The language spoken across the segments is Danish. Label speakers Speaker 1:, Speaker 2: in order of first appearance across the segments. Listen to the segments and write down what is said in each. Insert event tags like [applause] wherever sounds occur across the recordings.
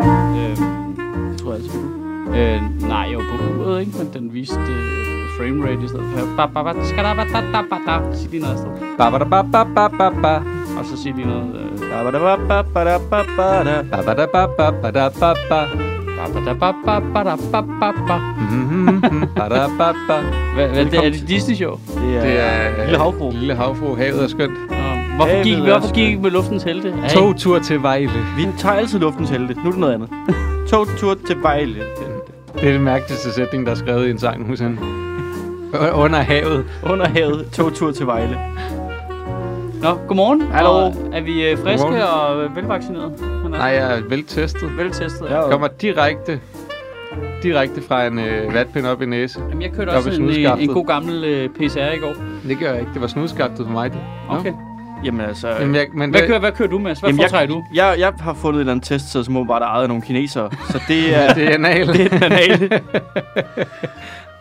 Speaker 1: Øhm, tror jeg, jeg spiller. øh, nej, jeg var på uret, ikke? Men den viste øh, framerate i stedet for. Ba, ba, ba, skada, ba, da, da, ba, da. Sig lige noget i stedet.
Speaker 2: Ba ba da ba ba ba ba ba.
Speaker 1: Og så sig lige noget. Øh,
Speaker 2: Ba ba da ba ba ba da ba ba da. Ba ba da ba ba ba da ba ba.
Speaker 1: ba, ba, da, ba, ba, ba, da, ba, ba, ba.
Speaker 2: Mhm, ba da ba ba.
Speaker 1: Hvad, hvad det,
Speaker 2: Velkommen
Speaker 1: er det Disney-show?
Speaker 2: Det er øh,
Speaker 3: Lille Havfru.
Speaker 2: Lille havfru. Havet er skønt.
Speaker 1: Nå, Hvorfor
Speaker 3: Ja,
Speaker 1: gik,
Speaker 3: men
Speaker 1: hvorfor
Speaker 3: også-
Speaker 1: gik I med luftens helte? Ja, ikke?
Speaker 2: Togtur til Vejle.
Speaker 3: Vi tager altid luftens helte. Nu er det noget andet. [laughs] Togtur til Vejle.
Speaker 2: Det er den mærkeligste sætning, der er skrevet i en sang, Hussein. U- Under havet.
Speaker 3: Under havet. Togtur til Vejle.
Speaker 1: Nå, godmorgen.
Speaker 3: Hallo.
Speaker 1: Og er vi øh, friske
Speaker 2: Godmorgen.
Speaker 1: og øh, velvaccineret?
Speaker 2: Nej, jeg er veltestet.
Speaker 1: Veltestet.
Speaker 3: Ja.
Speaker 2: Kommer direkte, direkte fra en øh, vatpind op i næse.
Speaker 1: Jamen, jeg kørte
Speaker 2: Nå,
Speaker 1: også
Speaker 2: hvis
Speaker 1: en,
Speaker 2: nu
Speaker 1: øh,
Speaker 2: skaftet.
Speaker 1: en god gammel øh, PCR i går.
Speaker 2: Det gør jeg ikke. Det var snudskaftet for mig. det. Nå.
Speaker 1: Okay.
Speaker 3: Jamen altså... øh,
Speaker 2: Jamen, jeg, men
Speaker 1: Hvad kører, hvad kører du, Mads? Hvad
Speaker 3: jamen,
Speaker 1: foretrækker
Speaker 3: jeg,
Speaker 1: du?
Speaker 3: Jeg, jeg har fundet et eller andet test, så som åbenbart er ejet af nogle kinesere. Så
Speaker 2: [laughs]
Speaker 3: det er...
Speaker 2: Det er anal.
Speaker 3: det
Speaker 2: [laughs]
Speaker 3: er banalt.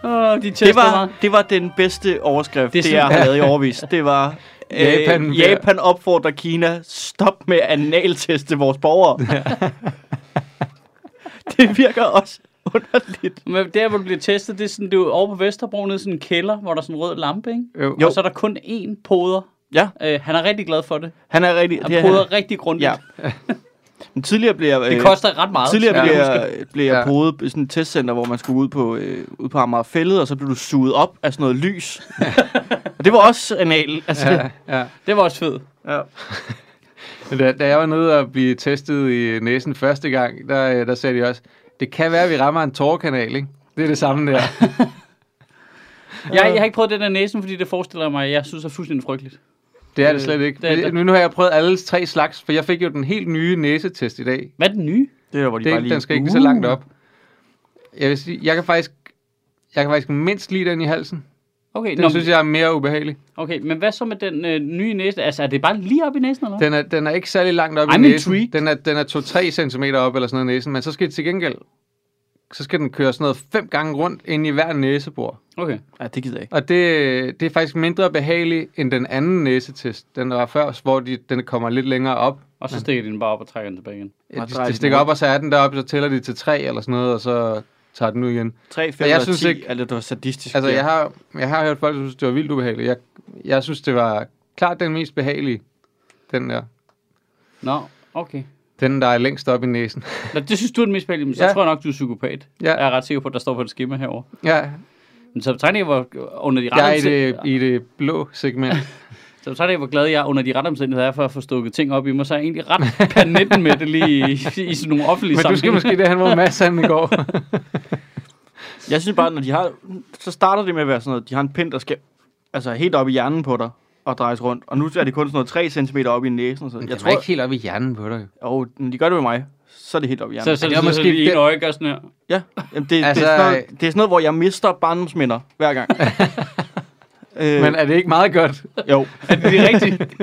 Speaker 1: Åh, de tester
Speaker 3: Det var, det var den bedste overskrift,
Speaker 1: Det er
Speaker 3: det, det jeg har lavet i overvis. Det var... Øh,
Speaker 2: [laughs] Japan-
Speaker 3: Japan, opfordrer Kina, stop med at analteste vores borgere. [laughs] det virker også underligt.
Speaker 1: Men der, hvor du bliver testet, det er sådan, det er jo over på Vesterbro, nede i sådan en kælder, hvor der er sådan en rød lampe, ikke?
Speaker 2: Jo.
Speaker 1: Og så er der kun én poder.
Speaker 3: Ja.
Speaker 1: Øh, han er rigtig glad for det.
Speaker 3: Han er rigtig...
Speaker 1: Han
Speaker 3: det er
Speaker 1: poder rigtig grundigt.
Speaker 3: Ja. Men tidligere blev jeg...
Speaker 1: Det
Speaker 3: øh,
Speaker 1: koster ret meget.
Speaker 3: Tidligere
Speaker 2: Ja.
Speaker 3: blev jeg, blev jeg
Speaker 2: Ja.
Speaker 3: podet i sådan et testcenter, hvor man skulle ud på, øh, ud på Amager Fællet, og så blev du suget op af sådan noget
Speaker 2: [laughs]
Speaker 3: lys. og det var også anal. Altså, ja.
Speaker 2: Ja, ja.
Speaker 1: Det var også fedt.
Speaker 3: Ja.
Speaker 2: Da, da jeg var nede og blive testet i næsen første gang, der, øh, der sagde de også, det kan være, at vi rammer en tårerkanal, ikke? Det er det
Speaker 1: [laughs]
Speaker 2: samme der.
Speaker 1: Jeg, jeg har ikke prøvet den der næsen, fordi det forestiller mig, at jeg synes er fuldstændig frygteligt.
Speaker 2: Det er det slet ikke.
Speaker 1: Det er det.
Speaker 2: Det, nu, nu har jeg prøvet alle tre slags, for jeg fik jo den helt nye næsetest i dag.
Speaker 1: Hvad er den nye?
Speaker 3: Det er der, hvor de bare
Speaker 2: Det,
Speaker 3: lige...
Speaker 2: den skal ikke
Speaker 1: Uh!
Speaker 2: så langt op. Jeg vil sige, jeg kan faktisk, jeg kan faktisk mindst lide den i halsen.
Speaker 1: Okay,
Speaker 2: Den
Speaker 1: nå,
Speaker 2: synes jeg er mere ubehagelig.
Speaker 1: okay, men hvad så med den øh, nye næse? Altså, er det bare lige op i næsen, eller hvad?
Speaker 2: Den er, den er ikke særlig langt op
Speaker 1: I'm
Speaker 2: i næsen.
Speaker 1: intrigued.
Speaker 2: Den er, den er 2-3 cm op eller sådan noget i næsen, men så skal det til gengæld så skal den køre sådan noget fem gange rundt ind i hver næsebor.
Speaker 1: Okay.
Speaker 3: Ja, det gider jeg ikke.
Speaker 2: Og det, det er faktisk mindre behageligt end den anden næsetest, den der var før, hvor de, den kommer lidt længere op.
Speaker 1: Og så stikker de den bare op og trækker den tilbage igen.
Speaker 2: Ja,
Speaker 3: Og
Speaker 2: de,
Speaker 3: drejer
Speaker 2: de
Speaker 3: den
Speaker 2: stikker op,
Speaker 3: rundt.
Speaker 2: og så er den deroppe, så tæller de til tre eller sådan noget, og så tager den ud igen.
Speaker 3: 3, 5
Speaker 2: jeg
Speaker 3: jeg
Speaker 2: synes
Speaker 3: synes 10,
Speaker 2: ikke-
Speaker 3: ikke... eller det var sadistisk.
Speaker 2: Altså,
Speaker 3: der.
Speaker 2: jeg har, jeg har hørt folk, der synes, det var vildt ubehageligt. Jeg, jeg synes, det var klart den mest behagelige, den der.
Speaker 1: Nå, okay.
Speaker 2: Den, der er længst op i næsen. [laughs]
Speaker 1: Nå, det synes du er den mest spændende, men så
Speaker 2: Ja.
Speaker 1: tror jeg nok, du er psykopat.
Speaker 2: Ja.
Speaker 1: Jeg er ret sikker på, at der står på et skema herovre.
Speaker 2: Ja,
Speaker 1: Men så betegner jeg, hvor, under de
Speaker 2: jeg er
Speaker 1: rette
Speaker 2: i det,
Speaker 1: omstændigheder,
Speaker 2: i det blå segment.
Speaker 1: så betegner jeg, hvor glad jeg under de rette omstændigheder er for at få stukket ting op i mig, så er jeg egentlig ret [laughs] panitten med det lige i, i sådan nogle offentlige
Speaker 2: Men du skal
Speaker 1: sammenhænge.
Speaker 2: måske derhen, hvor Mads han i går.
Speaker 3: jeg synes bare, når de har... Så starter det med at være sådan noget, de har en pind, der skal altså, helt op i hjernen på dig og drejes rundt. Og nu er det kun sådan noget 3 cm op i næsen. Og sådan. Jeg tror, ikke...
Speaker 2: helt op i hjernen på dig.
Speaker 3: oh, de gør det med mig. Så er det helt op i hjernen.
Speaker 1: Så, så,
Speaker 2: det
Speaker 1: det
Speaker 2: er
Speaker 1: er
Speaker 2: måske
Speaker 1: måske lige en
Speaker 2: det-
Speaker 1: øje gør sådan her.
Speaker 3: Ja, Jamen, det,
Speaker 2: Altså,
Speaker 3: altså, det, er sådan noget, det er sådan noget, hvor jeg mister barndomsminder hver
Speaker 2: [laughs]
Speaker 3: gang. øh,
Speaker 2: Men er det ikke meget godt? [laughs]
Speaker 3: jo,
Speaker 1: Er det rigtigt?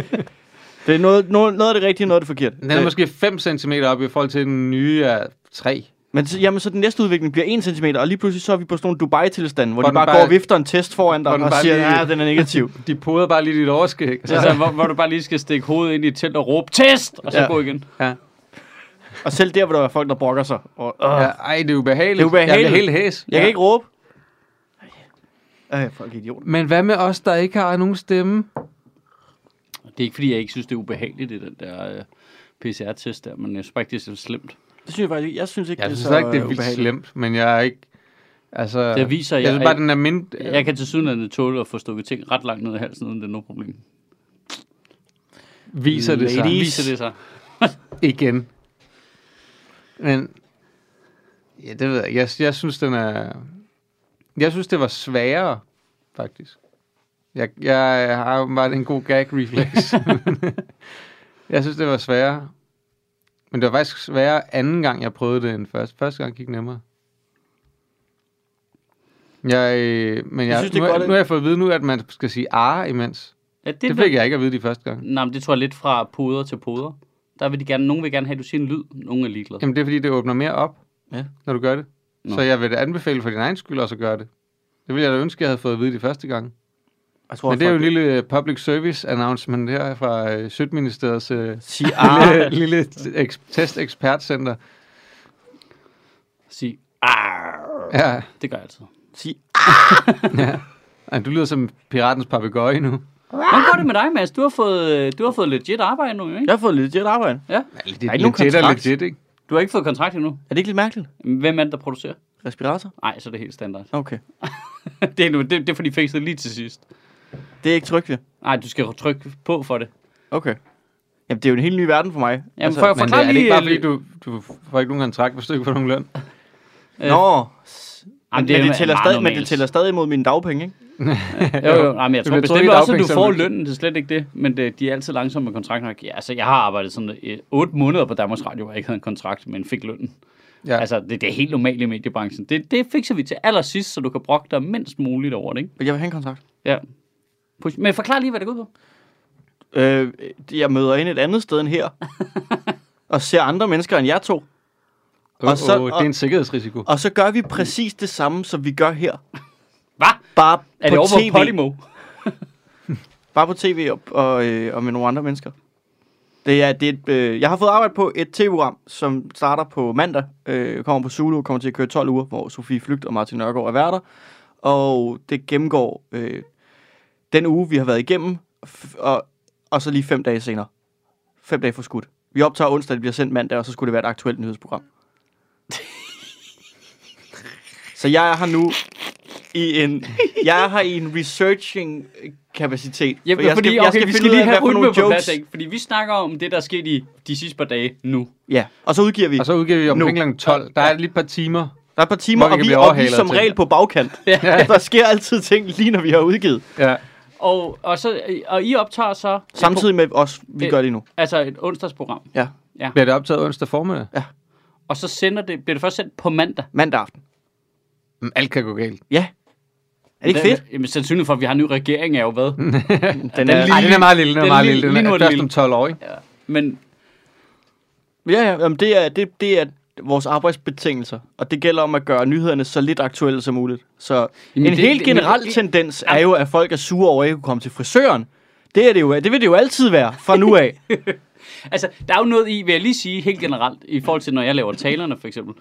Speaker 3: det er noget, noget, noget af det rigtige, noget af det forkerte.
Speaker 2: Den er
Speaker 3: Øh,
Speaker 2: måske 5 cm op i forhold til den nye er 3.
Speaker 3: Men så, jamen, så den næste udvikling bliver 1 cm, og lige pludselig så er vi på sådan nogle Dubai-tilstand, hvor,
Speaker 2: Hvor
Speaker 3: hvor
Speaker 2: den
Speaker 3: de bare,
Speaker 2: bare-
Speaker 3: går og vifter en test foran dig
Speaker 2: hvor den
Speaker 3: og
Speaker 2: bare
Speaker 3: siger,
Speaker 2: lige-
Speaker 3: at den er negativ.
Speaker 2: De poder bare lidt i dit overskæg.
Speaker 1: altså, hvor, hvor, du bare lige skal stikke hovedet ind i et telt og råbe, test! Og så
Speaker 3: Ja.
Speaker 1: gå igen.
Speaker 2: Ja.
Speaker 3: og selv der vil der være folk, der brokker sig. Og, øh,
Speaker 2: Ja,
Speaker 3: ja.
Speaker 2: ej, det er ubehageligt.
Speaker 3: Det er ubehageligt.
Speaker 2: Jeg bliver helt hæs.
Speaker 3: Jeg kan ikke råbe. Øh, folk er idioter.
Speaker 2: Men hvad med os, der ikke har nogen stemme?
Speaker 1: Det er ikke, fordi jeg ikke synes, det er ubehageligt, det den der øh, PCR-test der, men jeg synes bare ikke, det er så slemt.
Speaker 3: Det synes jeg faktisk ikke. Jeg synes ikke,
Speaker 2: Jeg
Speaker 3: det
Speaker 2: synes
Speaker 3: er
Speaker 2: heller
Speaker 3: så
Speaker 2: ikke, det er
Speaker 3: øh,
Speaker 2: vildt
Speaker 3: ubehageligt.
Speaker 2: slemt, men jeg er ikke... Altså,
Speaker 1: Det viser,
Speaker 2: jeg,
Speaker 1: jeg
Speaker 2: synes bare,
Speaker 1: er-
Speaker 2: den er mindre...
Speaker 1: Jeg kan til sydenlandet tåle at få stukket ting ret langt ned i halsen, uden det er noget problem.
Speaker 2: viser det sig
Speaker 3: Ladies.
Speaker 1: Viser det sig.
Speaker 2: igen. Men... Ja, det ved jeg. ikke. Jeg, jeg synes, den er... Jeg synes, det var sværere, faktisk. Jeg, jeg har jo bare en god gag reflex. [laughs] jeg synes, det var sværere. Men det var faktisk sværere anden gang, jeg prøvede det end første. Første gang gik nemmere. Jeg, øh, men jeg,
Speaker 3: synes, det er
Speaker 2: nu,
Speaker 3: godt, at-
Speaker 2: nu har jeg fået at vide nu, at man skal sige ah imens.
Speaker 1: Ja, det,
Speaker 2: Det fik jeg ikke at vide de første gang.
Speaker 1: Nej, men det tror jeg lidt fra poder til poder. Der vil de gerne, nogen vil gerne have, at du siger en lyd, nogen er ligeglade.
Speaker 2: Jamen, det er fordi, det åbner mere op,
Speaker 3: Ja.
Speaker 2: når du gør det.
Speaker 1: Nå.
Speaker 2: Så jeg vil da anbefale for din egen skyld også at gøre det. Det ville jeg da ønske, jeg havde fået at vide de første gang.
Speaker 3: Jeg tror,
Speaker 2: Men det er jo en
Speaker 3: lige...
Speaker 2: lille øh, public service announcement her fra øh, Sødministeriets øh,
Speaker 3: Sige,
Speaker 2: lille,
Speaker 3: ah,
Speaker 2: [laughs] lille t- eks- testekspertcenter.
Speaker 1: Sig,
Speaker 2: Ja,
Speaker 1: det gør jeg altid.
Speaker 3: sige,
Speaker 2: Ej, du lyder som piratens papegøje nu.
Speaker 1: Hvordan går det med dig, Mads? Du har fået, øh, du har fået legit arbejde nu, ikke?
Speaker 3: jeg har fået legit arbejde.
Speaker 1: Ja.
Speaker 2: Det
Speaker 3: ikke nogen
Speaker 2: legit er
Speaker 3: kontrakt.
Speaker 2: legit, ikke?
Speaker 1: Du har ikke fået kontrakt endnu.
Speaker 3: Er det ikke lidt mærkeligt?
Speaker 1: Hvem er det, der producerer?
Speaker 3: Respirator?
Speaker 1: Nej, så er det helt standard. [laughs]
Speaker 3: Okay.
Speaker 1: det, er nu, det, det er fordi fikset lige til sidst.
Speaker 3: Det er ikke trygt, ja.
Speaker 1: Nej, du skal trykke på for det.
Speaker 3: Okay. Jamen, det er jo en helt ny verden for mig. Altså, Jamen,
Speaker 1: for jeg-
Speaker 2: Men det,
Speaker 1: Forklar
Speaker 2: er det ikke
Speaker 1: lige,
Speaker 2: bare,
Speaker 1: øh,
Speaker 2: fordi du, du får ikke nogen kontrakt, hvis du ikke får nogen løn?
Speaker 1: øh,
Speaker 3: Nå, s- men,
Speaker 1: Jamen,
Speaker 3: det,
Speaker 1: det er
Speaker 3: men, det tæller
Speaker 1: meget
Speaker 3: stadig, men
Speaker 1: normalt.
Speaker 3: det tæller stadig mod mine dagpenge, ikke?
Speaker 1: Jo, jo. Nej, men jeg
Speaker 2: Det
Speaker 1: tror
Speaker 2: bliver
Speaker 1: bestemt
Speaker 2: trukket i
Speaker 1: også, at du får
Speaker 2: dagpengesamlet.
Speaker 1: lønnen. Det er slet ikke det. Men det, de er altid langsomme med kontrakter. Ja, altså, jeg har arbejdet sådan øh, otte måneder på Danmarks Radio, hvor jeg ikke havde en kontrakt, men fik lønnen.
Speaker 2: Ja.
Speaker 1: Ja. Altså, det, det er helt normalt i mediebranchen. Det, det fikser vi til allersidst, så du kan brokke dig mindst muligt over det, ikke?
Speaker 3: Men jeg vil have en kontrakt.
Speaker 1: Ja. Push. Men forklar lige, hvad det går ud på.
Speaker 3: Øh, jeg møder ind et andet sted end [laughs] her. og ser andre mennesker end jer to.
Speaker 2: Oh,
Speaker 3: Og så-
Speaker 2: oh, det er en sikkerhedsrisiko.
Speaker 3: Og så gør vi præcis det samme, som vi gør her.
Speaker 1: Hvad?
Speaker 3: Bare
Speaker 1: Er det
Speaker 3: på
Speaker 1: over
Speaker 3: tv.
Speaker 1: på Podimo?
Speaker 3: Bare på tv og, og, øh, og med nogle andre mennesker. Det er, det er et, øh, jeg har fået arbejde på et tv-program, som starter på mandag. Øh, kommer på Zulu, kommer til at køre 12 uger, hvor Sofie Flygt og Martin Nørgaard er værter. Og det gennemgår øh, den uge, vi har været igennem, f- og, og så lige fem dage senere. Fem dage for skudt. Vi optager onsdag, det bliver sendt mandag, og så skulle det være et aktuelt
Speaker 1: [laughs]
Speaker 3: nyhedsprogram. så jeg er her nu i en, jeg er her i en researching kapacitet.
Speaker 1: Ja,
Speaker 3: For jeg
Speaker 1: fordi, okay, vi skal
Speaker 3: ud
Speaker 1: lige
Speaker 3: af,
Speaker 1: have
Speaker 3: hvad for nogle
Speaker 1: rytme på
Speaker 3: jokes-
Speaker 1: plads, ikke? Fordi vi snakker om det, der er sket i de sidste par dage
Speaker 3: [laughs]
Speaker 1: nu.
Speaker 3: Ja, og så udgiver vi.
Speaker 2: Og så udgiver vi
Speaker 3: Nu.
Speaker 2: omkring kl. 12. Der er lige et par timer.
Speaker 3: Der er et par
Speaker 2: Hvor
Speaker 3: timer,
Speaker 2: vi
Speaker 3: og
Speaker 2: kan
Speaker 3: vi,
Speaker 2: blive
Speaker 3: og vi
Speaker 2: overhalet
Speaker 3: som
Speaker 2: til.
Speaker 3: regel på bagkant.
Speaker 1: Ja.
Speaker 3: [laughs] Der sker altid ting, lige når vi har udgivet.
Speaker 2: Ja.
Speaker 1: Og, og, så, og I optager så...
Speaker 3: Samtidig med os, vi gør det nu.
Speaker 1: Altså et onsdagsprogram.
Speaker 3: Ja,
Speaker 2: Bliver det optaget onsdag formiddag?
Speaker 1: Og så sender det, bliver det først sendt på mandag.
Speaker 3: mandag aften.
Speaker 2: Men alt kan gå galt.
Speaker 3: Ja. Er det ikke fedt?
Speaker 1: Den, jamen, sandsynligheden for, at vi har en ny regering, er jo
Speaker 3: [laughs]
Speaker 1: hvad?
Speaker 3: Den
Speaker 1: er
Speaker 3: er
Speaker 1: lige-
Speaker 2: Nej, den er meget lille. Den er
Speaker 1: den er
Speaker 2: meget
Speaker 1: lige-
Speaker 2: lille. Den
Speaker 1: lige nu
Speaker 2: er
Speaker 1: er den
Speaker 2: først
Speaker 1: lille.
Speaker 2: om 12 år, ikke?
Speaker 1: Men
Speaker 3: Ja, ja. Jamen, det, er, det, det er vores arbejdsbetingelser. Og det gælder om at gøre nyhederne så lidt aktuelle som muligt. Så
Speaker 1: Jamen,
Speaker 3: en
Speaker 1: det-
Speaker 3: helt
Speaker 1: det-
Speaker 3: generel
Speaker 1: men-
Speaker 3: tendens er jo, at folk er sure over, at ikke kunne komme til frisøren. Det, er det, jo, det vil det jo altid være fra nu af.
Speaker 1: altså, der er jo noget i, vil jeg lige sige helt generelt, i forhold til, når jeg laver talerne for eksempel.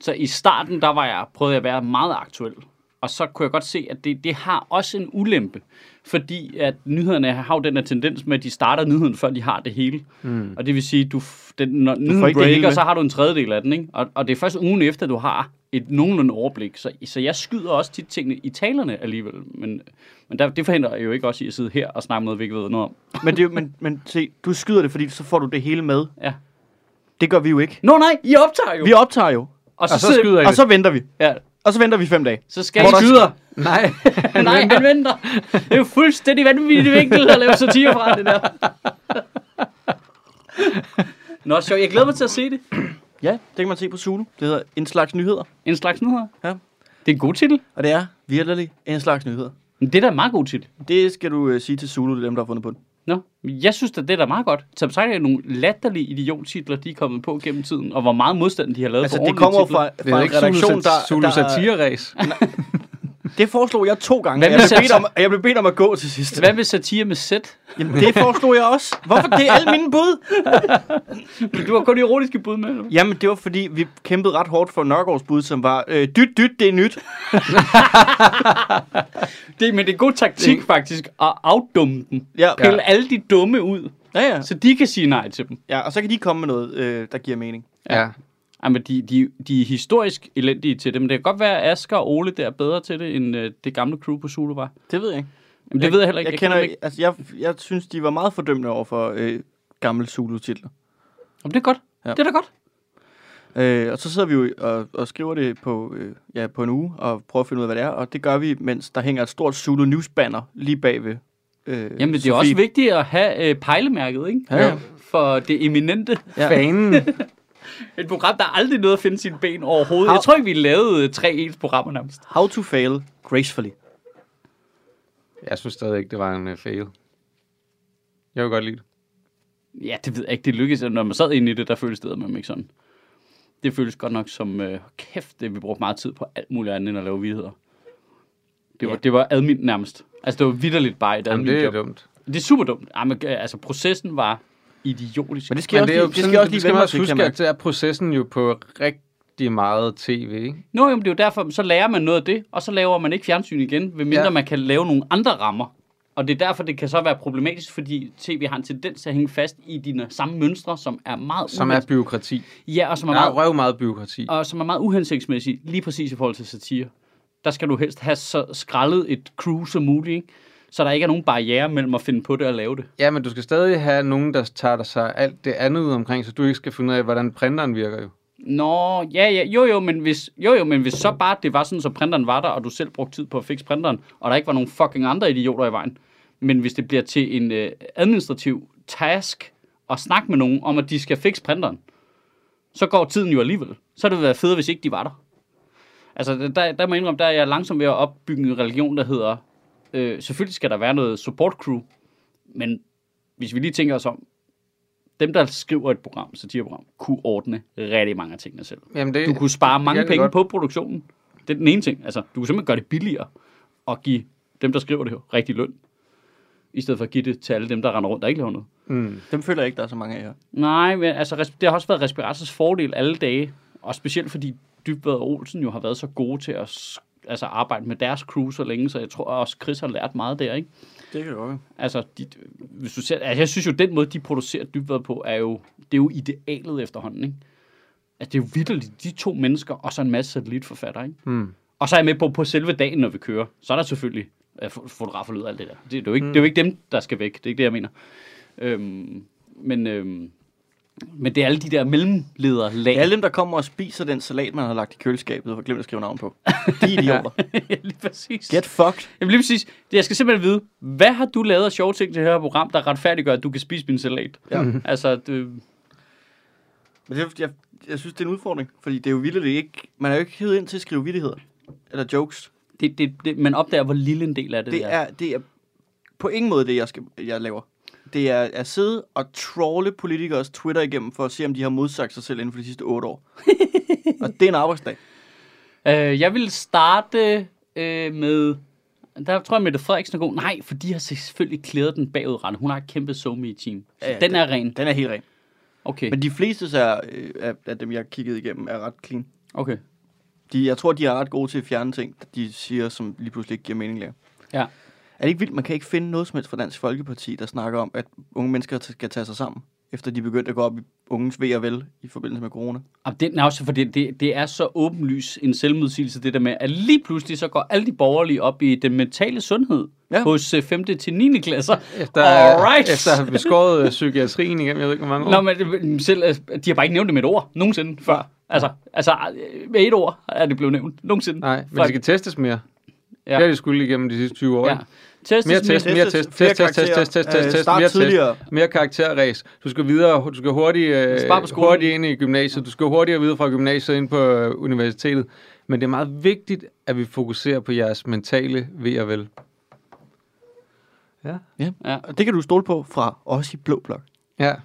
Speaker 1: Så i starten, der var jeg, prøvede jeg at være meget aktuel. Og så kunne jeg godt se, at det, det har også en ulempe. Fordi at nyhederne har jo den her tendens med, at de starter nyheden, før de har det hele. Mm. Og det vil sige, du, f- den, når nyheden
Speaker 3: ikke det hele
Speaker 1: breaker,
Speaker 3: med.
Speaker 1: så har du en tredjedel af den. Ikke? Og, og det er først ugen efter, du har et nogenlunde overblik. Så, så jeg skyder også tit tingene i talerne alligevel. Men, men der, det forhindrer jo ikke også i at sidde her og snakke om noget, vi ikke ved noget om.
Speaker 3: Men, det, er jo- men, men se, du skyder det, fordi så får du det hele med.
Speaker 1: Ja.
Speaker 3: Det gør vi jo ikke.
Speaker 1: Nå nej, I optager jo!
Speaker 3: Vi optager jo,
Speaker 1: Og så,
Speaker 2: Og så skyder I
Speaker 3: og
Speaker 2: det.
Speaker 3: så venter vi.
Speaker 1: Ja,
Speaker 3: Og så venter vi fem dage.
Speaker 1: så skal
Speaker 3: Hvor
Speaker 1: I
Speaker 3: der- [laughs]
Speaker 1: skyder.
Speaker 2: Nej.
Speaker 1: Nej, han venter. Det er jo fuldstændig vanvittig vinkel at lave satire fra det der. [laughs] Nå, sjovt. Jeg glæder mig til at se det.
Speaker 3: Ja, det kan man se på Zulu. Det hedder En slags nyheder.
Speaker 1: En slags nyheder.
Speaker 3: Ja.
Speaker 1: Det er en god titel.
Speaker 3: Og det er virkelig en slags nyheder.
Speaker 1: Men det er da en meget god titel.
Speaker 3: Det skal du øh, sige til Zulu, det er dem, der har fundet på den.
Speaker 1: Nå, jeg synes da, det er da meget godt. Som sagt er det nogle latterlige idiottitler, de er kommet på gennem tiden, og hvor meget modstand de har lavet
Speaker 3: Altså,
Speaker 1: på
Speaker 3: det
Speaker 1: ordentlige
Speaker 3: kommer jo
Speaker 1: titler.
Speaker 3: fra,
Speaker 2: Det er
Speaker 3: fra en
Speaker 2: ikke
Speaker 3: redaktion, der...
Speaker 2: Zulu
Speaker 3: der-
Speaker 2: Satire-ræs.
Speaker 3: Det foreslog jeg to gange.
Speaker 1: Hvad
Speaker 3: og Jeg
Speaker 1: med
Speaker 3: blev, bedt
Speaker 1: sat-
Speaker 3: om, og jeg blev bedt om at gå til sidst.
Speaker 1: Hvad med satire med sæt?
Speaker 3: Jamen, det foreslog jeg også. Hvorfor? Det er alle mine bud.
Speaker 1: Du har kun ironiske bud med. eller hvad?
Speaker 3: Jamen, det var fordi, vi kæmpede ret hårdt for Nørgaards bud, som var, øh, dyt, dyt, det er nyt.
Speaker 1: Det, men det er god taktik faktisk at afdumme dem.
Speaker 3: Ja,
Speaker 1: Pille alle de dumme ud,
Speaker 3: ja, ja.
Speaker 1: så de kan sige nej til dem.
Speaker 3: ja og så kan de komme med noget, øh, der giver mening.
Speaker 2: Ja.
Speaker 1: Ej, men de, de, de er historisk elendige til det, men det kan godt være, at Asger og Ole der er bedre til det, end øh, det gamle crew på Zulu var.
Speaker 3: Det ved jeg ikke.
Speaker 1: Jamen, det ved jeg heller ikke.
Speaker 3: Jeg, kender,
Speaker 1: dem
Speaker 3: ikke. Altså, jeg, jeg synes, de var meget fordømmende over for øh, gamle Zulu-titler.
Speaker 1: Jamen, det er godt.
Speaker 3: Ja.
Speaker 1: Ja. Det er da godt.
Speaker 3: Øh, og så sidder vi jo og, og skriver det på, øh, ja, på en uge, og prøver at finde ud af, hvad det er. Og det gør vi, mens der hænger et stort Zulu News-banner lige bagved. Øh,
Speaker 1: Jamen, det er
Speaker 3: Sofie.
Speaker 1: også vigtigt at have øh, pejlemærket, ikke?
Speaker 3: Ja, ja.
Speaker 1: For det eminente.
Speaker 3: Ja.
Speaker 2: Fanen.
Speaker 1: Et program, der aldrig nåede at finde sine ben overhovedet.
Speaker 3: Hav-
Speaker 1: Jeg tror ikke, vi lavede øh, tre ens programmer nærmest.
Speaker 3: How to fail gracefully.
Speaker 2: [laughs] Jeg synes stadig ikke, det var en øh, fail. Jeg vil godt lide det.
Speaker 1: Ja, det ved jeg ikke. Det lykkedes. Når man sad inde i det, der føltes det med ikke sådan. Det føles godt nok som, øh, kæft, det vi brugte meget tid på alt muligt andet end at lave vidheder. Det var,
Speaker 3: Ja.
Speaker 1: det var admin nærmest. Altså, det var vidderligt bare et
Speaker 2: Jamen,
Speaker 1: admin
Speaker 2: det er
Speaker 1: job.
Speaker 2: dumt.
Speaker 1: Det er super dumt. Ej, men, øh, altså, processen var idiotisk.
Speaker 3: Men det skal,
Speaker 2: Men
Speaker 3: også,
Speaker 2: det er jo
Speaker 3: lige, det skal også lige
Speaker 2: skal
Speaker 3: vende
Speaker 2: man
Speaker 3: mig
Speaker 2: også
Speaker 3: til, kan
Speaker 2: huske,
Speaker 3: man.
Speaker 2: at det er processen jo på rigtig meget tv, ikke?
Speaker 1: Nå, jo, men det er jo derfor, så lærer man noget af det, og så laver man ikke fjernsyn igen, medmindre
Speaker 2: Ja.
Speaker 1: ja. man kan lave nogle andre rammer. Og det er derfor, det kan så være problematisk, fordi tv har en tendens til at hænge fast i dine samme mønstre, som er meget,
Speaker 2: Som er byråkrati.
Speaker 1: ja, og som er
Speaker 2: Der er
Speaker 1: meget
Speaker 2: røv meget byråkrati.
Speaker 1: og som er meget uhensigtsmæssig, lige præcis i forhold til satire. Der skal du helst have så skrællet et crew som muligt, ikke? så der ikke er nogen barriere mellem at finde på det og lave det.
Speaker 2: Ja, men du skal stadig have nogen, der tager dig sig alt det andet ud omkring, så du ikke skal finde ud af, hvordan printeren virker jo.
Speaker 1: Nå, ja, ja, jo, jo, men hvis, jo, jo, men hvis så bare det var sådan, så printeren var der, og du selv brugte tid på at fikse printeren, og der ikke var nogen fucking andre idioter i vejen. Men hvis det bliver til en øh, administrativ task at snakke med nogen om, at de skal fikse printeren, så går tiden jo alligevel. Så havde det været federe, hvis ikke de var der. Altså, der, der må jeg indrømme, der er jeg langsomt ved at opbygge en religion, der hedder, øh, selvfølgelig skal der være noget support crew, men hvis vi lige tænker os om, dem, der skriver et program, satireprogram, kunne ordne rigtig mange af tingene selv.
Speaker 2: Jamen, det,
Speaker 1: Du kunne spare mange
Speaker 2: kan vi
Speaker 1: penge
Speaker 2: godt.
Speaker 1: på produktionen. Det er den ene ting. Altså, du kunne simpelthen gøre det billigere og give dem, der skriver det her, rigtig løn. I stedet for at give det til alle dem, der render rundt og ikke laver noget.
Speaker 2: mm.
Speaker 3: Dem føler jeg ikke, der er så mange af jer.
Speaker 1: Nej, men altså, res- det har også været respirators fordel alle dage. Og specielt fordi Dybvad og Olsen jo har været så gode til at s- altså, arbejde med deres crew så længe, så jeg tror også, Chris har lært meget der, ikke?
Speaker 3: Det kan du også.
Speaker 1: Altså, de, hvis du ser, altså, jeg synes jo, den måde, de producerer dybvad på, er jo, det er jo idealet efterhånden, ikke? Altså, det er jo vidderligt de to mennesker, og så en masse satellitforfatter, ikke?
Speaker 3: Hmm.
Speaker 2: Mm.
Speaker 1: Og så er jeg med på, på selve dagen, når vi kører, så er der selvfølgelig øh, fo- fotografer og lyd og alt det der. Det, det, er jo ikke, mm.
Speaker 3: Hmm.
Speaker 1: det er jo ikke dem, der skal væk. Det er ikke det, jeg mener. Øhm, men, øhm, men det er alle de der mellemlederlag.
Speaker 3: Det er alle
Speaker 1: [laughs]
Speaker 3: dem, der kommer og spiser den salat, man har lagt i køleskabet og har glemt at skrive navn på. De er
Speaker 1: [laughs]
Speaker 3: idioter.
Speaker 1: lige præcis.
Speaker 3: Get fucked.
Speaker 1: Jamen lige præcis. Det- Jeg skal simpelthen vide, hvad har du lavet af sjove ting til det her program, der retfærdiggør, at du kan spise min salat?
Speaker 3: Ja.
Speaker 1: Altså, det,
Speaker 3: Men det, jeg, jeg synes, det er en udfordring, fordi det er jo vildt, det ikke... Man er jo ikke hævet ind til at skrive vittigheder eller jokes.
Speaker 1: det, det, det, man opdager, hvor lille en del af det,
Speaker 3: Det
Speaker 1: der.
Speaker 3: er, det er på ingen måde det, jeg, skal, jeg laver. Det er at sidde og trolle politikers Twitter igennem for at se, om de har modsagt sig selv inden for de sidste
Speaker 1: [laughs]
Speaker 3: otte år. og det er en arbejdsdag.
Speaker 1: Øh, jeg vil starte øh, med... Der tror jeg, Mette Frederiksen er god. Nej, for de har selvfølgelig klædet den bagudrettet. Hun har et kæmpe somi team
Speaker 3: Ja, ja,
Speaker 1: Den er ren.
Speaker 3: Den er helt ren.
Speaker 1: Okay,
Speaker 3: Men de fleste af, øh, af, af dem, jeg har kigget igennem, er ret clean.
Speaker 1: okay.
Speaker 3: De, jeg tror, de er ret gode til at fjerne ting, de siger, som lige pludselig ikke giver mening længere.
Speaker 1: Ja.
Speaker 3: Er det ikke vildt, man kan ikke finde noget som helst fra Dansk Folkeparti, der snakker om, at unge mennesker t- skal tage sig sammen, efter de begyndte at gå op i unges ved og vel i forbindelse med corona?
Speaker 1: Og det, nej, også for det, det, det er så åbenlys en selvmodsigelse, det der med, at lige pludselig så går alle de borgerlige op i den mentale sundhed
Speaker 3: Ja.
Speaker 1: ja. hos 5. til 9. klasser.
Speaker 2: Efter,
Speaker 1: Alright.
Speaker 2: efter at have beskåret øh, psykiatrien igennem, jeg ved ikke, hvor mange år.
Speaker 1: Nå, men øh, selv, øh, de har bare ikke nævnt det med et ord nogensinde før. Altså, altså øh, med et ord er det blevet nævnt nogensinde.
Speaker 2: Nej, men
Speaker 1: Før-
Speaker 2: det skal testes mere. Ja.
Speaker 1: Ja.
Speaker 2: Det har de skulle igennem de sidste 20 år.
Speaker 1: ja.
Speaker 2: Ja.
Speaker 1: Testes
Speaker 2: Mere test,
Speaker 1: mere-
Speaker 2: mere test,
Speaker 3: flere
Speaker 2: test, test, test,
Speaker 3: karakterer,
Speaker 2: test, test, test,
Speaker 3: øh,
Speaker 2: test,
Speaker 3: start
Speaker 2: mere test,
Speaker 3: tidligere.
Speaker 2: mere karakterræs. Du skal videre, du skal hurtigt,
Speaker 1: Spar på
Speaker 2: øh,
Speaker 1: skolen.
Speaker 2: hurtigt ind i gymnasiet, du skal hurtigere videre fra gymnasiet ind på øh, universitetet. Men det er meget vigtigt, at vi fokuserer på jeres mentale ved og vel. Ja.
Speaker 1: Ja.
Speaker 3: Og det kan du stole på fra os i Blå Blok.
Speaker 2: Ja. Og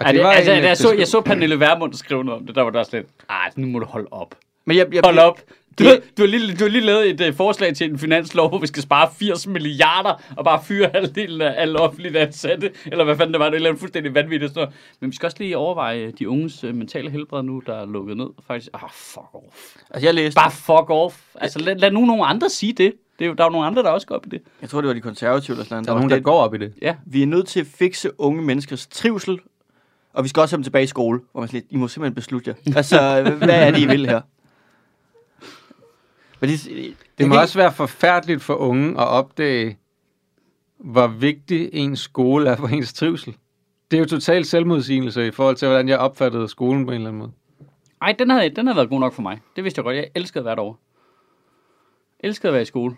Speaker 1: Ej, det, det altså,
Speaker 2: egentlig
Speaker 1: da jeg,
Speaker 2: et
Speaker 1: så,
Speaker 2: besked-
Speaker 1: jeg så Pernille Vermund skrive noget om det, der var der også lidt, ah, nu må du holde op.
Speaker 3: Men jeg, jeg,
Speaker 1: Hold
Speaker 3: jeg,
Speaker 1: op. Du,
Speaker 3: det-
Speaker 1: ved, du, har lige, du har lige lavet et uh, forslag til en finanslov, hvor vi skal spare 80 milliarder og bare fyre halvdelen af alle offentligt ansatte. Eller hvad fanden det var, det er fuldstændig vanvittigt. Sådan noget. Men vi skal også lige overveje de unges uh, mentale helbred nu, der er lukket ned. Faktisk, ah, fuck off.
Speaker 3: altså, jeg læste,
Speaker 1: Bare fuck off. Altså, lad, lad nu nogle andre sige det. det er jo, der er jo nogle andre, der også går op i det.
Speaker 3: jeg tror, det var de konservative eller sådan
Speaker 2: Der er nogen, der
Speaker 3: det,
Speaker 2: går op i det.
Speaker 1: Ja.
Speaker 3: Vi er nødt til at fikse unge menneskers trivsel, og vi skal også have dem tilbage i skole, hvor man sådan lidt, I må simpelthen beslutte jer.
Speaker 2: [laughs]
Speaker 3: Altså, hvad er det, I vil her? Men det,
Speaker 2: Det
Speaker 3: jeg
Speaker 2: må
Speaker 3: kan
Speaker 2: også være forfærdeligt for unge at opdage, hvor vigtig ens skole er for ens trivsel. Det er jo total selvmodsigelse i forhold til, hvordan jeg opfattede skolen på en eller anden måde.
Speaker 1: Ej, den havde, den havde været god nok for mig. Det vidste jeg godt. Jeg elskede at være derovre. Elskede at være i skole.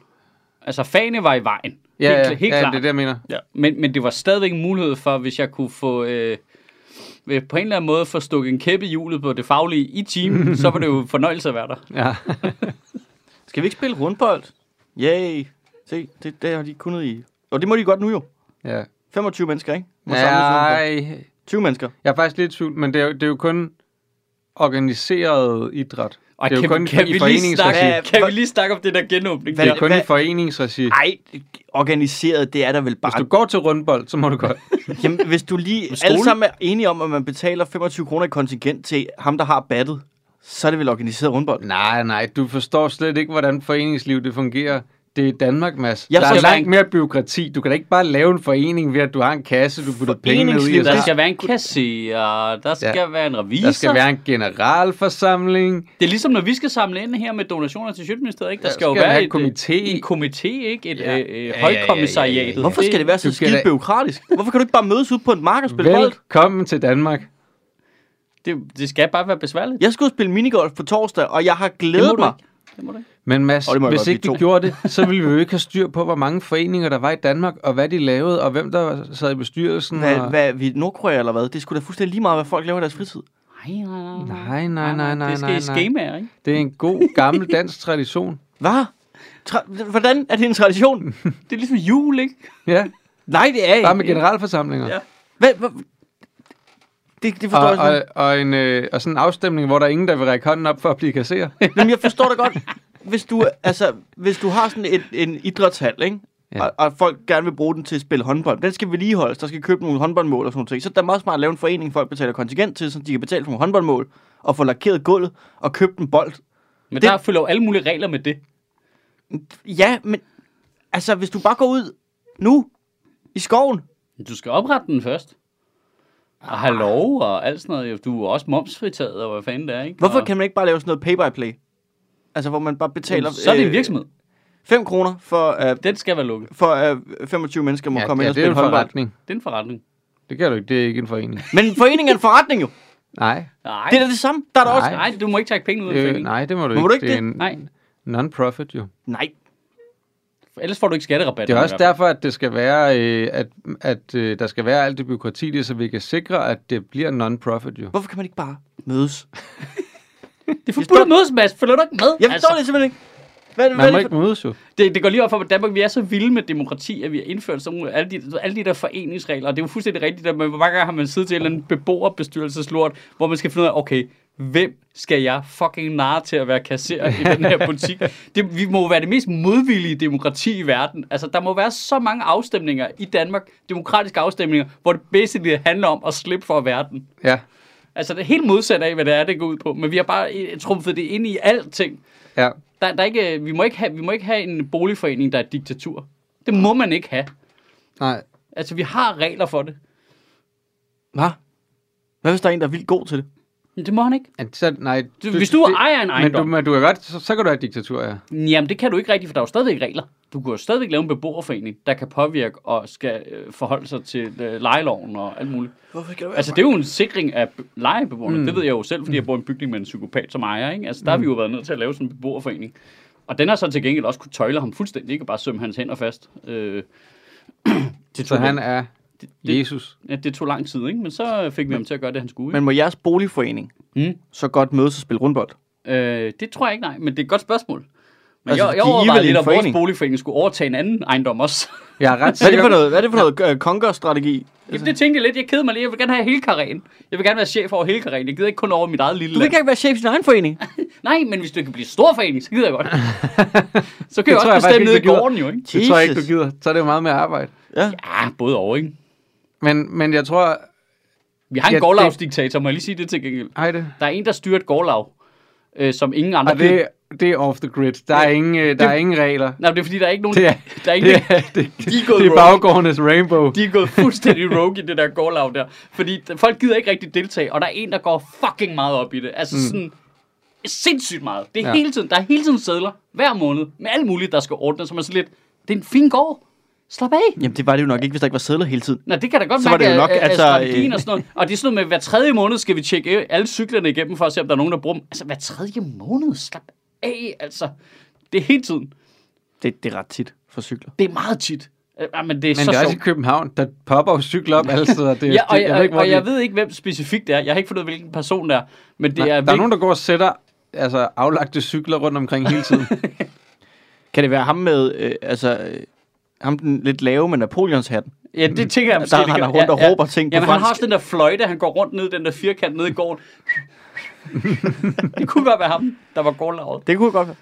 Speaker 1: Altså, fagene var i vejen.
Speaker 2: Ja,
Speaker 1: helt,
Speaker 2: ja,
Speaker 1: helt
Speaker 2: ja
Speaker 1: klart.
Speaker 2: det er det, jeg mener.
Speaker 1: Men, men det var stadigvæk en mulighed for, hvis jeg kunne få... Øh, øh, på en eller anden måde få stukket en kæppe i hjulet på det faglige i timen, så var det jo fornøjelse at være der. [laughs]
Speaker 2: Ja.
Speaker 3: Skal vi ikke spille rundbold? Yay. Se, det, det har de kunnet i. Og det må de godt nu jo.
Speaker 2: ja.
Speaker 3: 25 mennesker, ikke? Må samles udenfor.
Speaker 2: Nej,
Speaker 3: 20 mennesker.
Speaker 2: jeg er faktisk lidt i tvivl, men det er, jo, det er jo kun organiseret idræt.
Speaker 1: Og
Speaker 2: det er jo
Speaker 1: kan,
Speaker 2: kun
Speaker 1: kan,
Speaker 2: i
Speaker 1: vi lige
Speaker 2: foreningsregi.
Speaker 1: snakke,
Speaker 3: Hvad-
Speaker 1: kan vi lige snakke om det der genåbning?
Speaker 2: Det
Speaker 3: Hvad-
Speaker 1: der?
Speaker 2: er kun i foreningsregi.
Speaker 3: Nej, organiseret, det er der vel
Speaker 2: Hvis
Speaker 3: bare.
Speaker 2: du går til rundbold, så må du godt.
Speaker 3: Jamen, hvis du lige
Speaker 1: skole?
Speaker 3: alle sammen er enige om, at man betaler 25 kroner i kontingent til ham, der har battet, så er det vel organiseret rundbold.
Speaker 2: Nej, nej, du forstår slet ikke, hvordan foreningsliv det fungerer. Det er Danmark, Mads.
Speaker 3: Jeg
Speaker 2: Jeg der er
Speaker 3: forstår-
Speaker 2: langt mere byråkrati. Du kan da ikke bare lave en forening ved, at du har en kasse, du putter pengene ud i.
Speaker 3: Foreningsliv,
Speaker 2: og
Speaker 1: Der
Speaker 2: så-
Speaker 1: skal være en kasserer, der skal ja.
Speaker 2: Ja.
Speaker 1: være en revisor.
Speaker 2: Der skal være en generalforsamling.
Speaker 1: Det er ligesom, når vi skal samle ind her med donationer til Sjøtministeriet, ikke? Der
Speaker 2: Ja,
Speaker 1: skal jo
Speaker 2: skal
Speaker 1: være
Speaker 2: have
Speaker 1: et,
Speaker 2: en
Speaker 1: øh,
Speaker 2: komité.
Speaker 1: en komité, ikke? Et
Speaker 2: Ja.
Speaker 1: ja.
Speaker 2: Ja, ja,
Speaker 1: øh,
Speaker 2: ja, ja, ja,
Speaker 1: højkommissariatet.
Speaker 2: ja.
Speaker 3: Hvorfor skal det være så
Speaker 2: du skal
Speaker 3: skidt
Speaker 2: da-
Speaker 3: byråkratisk? Hvorfor kan du ikke bare mødes ud på en mark og spille bold?
Speaker 2: Velkommen til Danmark.
Speaker 1: Det, det skal bare være besværligt.
Speaker 3: Jeg skulle spille minigolf på torsdag, og jeg har
Speaker 1: det må
Speaker 3: glædet
Speaker 1: du
Speaker 3: mig.
Speaker 1: ikke. Det må du ikke.
Speaker 2: Men Mads,
Speaker 3: Og det må jeg
Speaker 2: hvis
Speaker 3: godt
Speaker 2: ikke
Speaker 3: blive
Speaker 2: du
Speaker 3: to.
Speaker 2: gjorde
Speaker 3: [laughs]
Speaker 2: det, så ville vi jo ikke have styr på, hvor mange foreninger der var i Danmark, og hvad de lavede, og hvem der sad i bestyrelsen.
Speaker 3: Hvad,
Speaker 2: og...
Speaker 3: hvad, vi Nordkorea eller hvad? Det skulle da fuldstændig lige meget, hvad folk laver i deres fritid.
Speaker 1: Nej, nej, nej.
Speaker 2: Nej, nej, nej, nej,
Speaker 1: Det skal
Speaker 2: nej,
Speaker 1: i
Speaker 2: nej.
Speaker 1: skemaer, ikke?
Speaker 2: Det er en god, gammel dansk tradition.
Speaker 3: Hvad? Tra- hvordan er det en tradition?
Speaker 1: Det er ligesom jul, ikke?
Speaker 2: Ja,
Speaker 3: Nej, det er ikke.
Speaker 2: bare
Speaker 1: [laughs]
Speaker 2: med generalforsamlinger.
Speaker 1: Ja.
Speaker 3: Hvad, hvad? Det, det forstår
Speaker 2: Og,
Speaker 3: jeg slet
Speaker 2: og, og, en, øh, og sådan en afstemning, hvor der er ingen, der vil række hånden op for at blive kasseret.
Speaker 3: Jamen, jeg forstår det godt. Hvis du, altså, hvis du har sådan et, en idrætshal, ikke? Ja.
Speaker 2: Ja.
Speaker 3: Og, og, folk gerne vil bruge den til at spille håndbold. Den skal vedligeholdes. Der skal købe nogle håndboldmål og sådan noget. Så er det er meget smart at lave en forening, folk betaler kontingent til, så de kan betale for nogle håndboldmål og få lakeret gulvet og købe en bold.
Speaker 1: Men det...
Speaker 3: Det-
Speaker 1: der følger jo alle mulige regler med det.
Speaker 3: Ja, men altså, hvis du bare går ud nu i skoven,
Speaker 1: Men Du skal oprette den først. Og
Speaker 2: Ah.
Speaker 1: have lov og alt sådan noget. jo. Du er jo også momsfritaget, og hvad fanden det er, ikke?
Speaker 3: hvorfor
Speaker 1: og...
Speaker 3: kan man ikke bare lave sådan noget pay-by-play? Altså, hvor man bare betaler...
Speaker 1: Så er det en
Speaker 2: Øh,
Speaker 1: virksomhed.
Speaker 3: 5 kroner for, at
Speaker 1: Den skal være lukket.
Speaker 3: for at 25 mennesker må ja, komme
Speaker 2: ja
Speaker 3: ind og
Speaker 2: det er jo
Speaker 3: spille
Speaker 2: en
Speaker 3: håndbold.
Speaker 2: forretning.
Speaker 1: Det er en forretning.
Speaker 2: Det kan du ikke, det er ikke en forening.
Speaker 3: Men foreningen er en forretning jo.
Speaker 2: Nej,
Speaker 1: Nej,
Speaker 3: Det er da det samme. Der er der også...
Speaker 2: Nej.
Speaker 1: nej du må ikke trække penge ud af
Speaker 2: øh,
Speaker 1: øh,
Speaker 2: nej, det må du
Speaker 3: Må
Speaker 2: ikke.
Speaker 3: du ikke
Speaker 2: det er
Speaker 3: det?
Speaker 2: en
Speaker 1: Nej.
Speaker 2: non-profit jo.
Speaker 3: Nej,
Speaker 1: Ellers får du ikke skatterabat.
Speaker 2: Det er også derfor, at det skal være, øh, at, at øh, der skal være alt det byråkrati, det, så vi kan sikre, at det bliver non-profit jo.
Speaker 3: Hvorfor kan man ikke bare mødes?
Speaker 1: Det er forbudt at mødes, Mads. Følger du ikke med?
Speaker 3: Jeg forstår altså, det simpelthen ikke. Hvad, hvad
Speaker 2: Man
Speaker 3: er
Speaker 2: må
Speaker 3: det
Speaker 2: ikke
Speaker 3: for...
Speaker 2: mødes jo.
Speaker 1: Det, det går lige op for, at Danmark, vi er så vilde med demokrati, at vi har indført sådan nogle, alle, de, alle de der foreningsregler. Og det er jo fuldstændig rigtigt, at man, hvor mange gange har man siddet til en eller anden beboerbestyrelseslort, hvor man skal finde ud af, okay, hvem skal jeg fucking narre til at være kasserer i den [laughs] her politik? Det, vi må jo være det mest modvillige demokrati i verden. Altså, der må være så mange afstemninger i Danmark, demokratiske afstemninger, hvor det basically handler om at slippe for verden.
Speaker 2: Ja,
Speaker 1: Altså, det er helt modsat af, hvad det er, det går ud på. Men vi har bare øh, trumfet det ind i alting.
Speaker 2: ja.
Speaker 1: Der, der er ikke, øh, vi, må ikke have, vi må ikke have en boligforening, der er et diktatur. Det må man ikke have.
Speaker 2: Nej.
Speaker 1: Altså, vi har regler for det.
Speaker 3: Hvad? Hvad hvis der er en, der er vildt god til det?
Speaker 1: Men det må han ikke.
Speaker 2: At Så, nej
Speaker 1: Du, hvis du ejer en
Speaker 2: men du,
Speaker 1: ejendom,
Speaker 2: men du er godt, så, så kan du have et diktatur, ja.
Speaker 1: jamen det kan du ikke rigtigt, for der er jo stadigvæk regler. Du kan jo stadigvæk lave en beboerforening, der kan påvirke og skal øh, forholde sig til øh, lejeloven og alt muligt.
Speaker 3: Hvorfor skal det
Speaker 1: Altså, det er jo en sikring af be- lejebeboerne. Mm. Det ved jeg jo selv, fordi jeg bor i en bygning med en psykopat som ejer. Ikke? Altså, der har vi jo været nødt til at lave sådan en beboerforening. Og den har så til gengæld også kunne tøjle ham fuldstændig, ikke? Og bare sømme hans hænder fast. Øh, [clears throat] til
Speaker 2: Så han er
Speaker 1: det-
Speaker 2: Jesus.
Speaker 1: Ja, det tog lang tid, ikke? Men så fik vi ham til at gøre det, han skulle. Ikke?
Speaker 3: Men må jeres boligforening
Speaker 1: Mm.
Speaker 3: så godt mødes og spille rundbold?
Speaker 1: Øh, det tror jeg ikke, nej. Men det er et godt spørgsmål. Men
Speaker 3: Altså,
Speaker 1: altså, jeg,
Speaker 3: de er
Speaker 1: jeg
Speaker 3: vel
Speaker 1: overvejede
Speaker 3: en
Speaker 1: lidt, om vores
Speaker 3: forening.
Speaker 1: boligforening skulle overtage en anden ejendom også. [laughs]
Speaker 2: Jeg er ret
Speaker 3: Hvad er det
Speaker 2: sikker
Speaker 3: for noget, hvad er det for noget øh, konkerstrategi?
Speaker 2: Altså-
Speaker 1: Jamen, det tænkte jeg lidt. Jeg keder mig lige. Jeg vil gerne have hele karren. Jeg vil gerne være chef over hele karren. Jeg gider ikke kun over mit eget lille
Speaker 3: Du
Speaker 1: land.
Speaker 3: kan ikke være chef i din egen forening.
Speaker 1: Nej, men hvis du kan blive stor forening, så gider jeg godt.
Speaker 2: [laughs]
Speaker 1: så kan jeg også
Speaker 2: tror jeg faktisk
Speaker 1: bestemme nede i
Speaker 2: ikke, vi gider.
Speaker 1: gården jo, ikke?
Speaker 2: Det tror jeg ikke, du
Speaker 3: Jesus.
Speaker 2: gider. Så er det jo meget mere arbejde.
Speaker 3: Ja.
Speaker 1: Ja, både over, ikke?
Speaker 2: Men, men jeg tror...
Speaker 1: Vi har en
Speaker 2: Ja,
Speaker 1: ja,
Speaker 2: det-
Speaker 1: gårdlavsdiktator, må jeg lige sige det til gengæld.
Speaker 2: Ej, det...
Speaker 1: Der er en, der styrer et gårdlav, øh, som ingen andre...
Speaker 2: Og det, det er off the grid. Der er ingen, øh, der er ingen regler.
Speaker 1: Nej, men det er fordi, der er ikke nogen...
Speaker 2: Det er,
Speaker 1: der er ikke
Speaker 2: det, er, [laughs] det,
Speaker 1: De er gået
Speaker 2: det er
Speaker 1: rogue.
Speaker 2: baggårdenes rainbow.
Speaker 1: De er gået fuldstændig rogue i det der gårdlav der. Fordi d- folk gider ikke rigtig deltage, og der er en, der går fucking meget op i det. Altså mm. sådan sindssygt meget. Det er ja.
Speaker 2: Ja.
Speaker 1: hele tiden, der er hele tiden sædler hver måned med alt muligt, der skal ordnes, som er sådan lidt, det er en fin gård. Slap af.
Speaker 3: Jamen, det var det jo nok ikke, hvis der ikke var sædler hele tiden.
Speaker 1: Nå, det kan da godt
Speaker 3: Så var
Speaker 1: mærke,
Speaker 3: det jo nok,
Speaker 1: at, at
Speaker 3: altså,
Speaker 1: strategien
Speaker 3: øh,
Speaker 1: og sådan noget. Og det er sådan noget med, hver tredje måned skal vi tjekke øh, alle cyklerne igennem, for at se, om der er nogen, der bruger dem. Altså, hver tredje måned? Slap af, altså. Det er hele tiden.
Speaker 3: Det, det er ret tit for cykler.
Speaker 1: Det er meget tit. Ja, men det er
Speaker 2: Men
Speaker 1: så
Speaker 2: det er
Speaker 1: sjovt.
Speaker 2: også i København, der popper jo cykler op alle steder. Det,
Speaker 1: Ja, og,
Speaker 2: det,
Speaker 1: jeg, jeg,
Speaker 2: ikke, hvor
Speaker 1: og
Speaker 2: de-
Speaker 1: jeg ved ikke, hvem specifikt det er. Jeg har ikke fundet ud af, hvilken person det er. Men det
Speaker 2: Nej,
Speaker 1: er,
Speaker 2: der er nogen, der går og sætter altså, aflagte cykler rundt omkring hele
Speaker 1: [laughs]
Speaker 2: tiden.
Speaker 3: Kan det være ham med, øh, altså, øh, ham den lidt lave med Napoleons hatten?
Speaker 1: virkelig- Ja,
Speaker 2: Mm.
Speaker 1: det tænker jeg måske.
Speaker 3: Der
Speaker 1: det
Speaker 3: render
Speaker 1: kan-
Speaker 3: rundt og
Speaker 1: ja, ja.
Speaker 3: råber ting på
Speaker 1: Jamen, han har
Speaker 3: fransk.
Speaker 1: også den der fløjte, han går rundt ned i den der firkant nede i gården. det kunne godt være ham, der var gårdlavet.
Speaker 3: Det kunne godt være.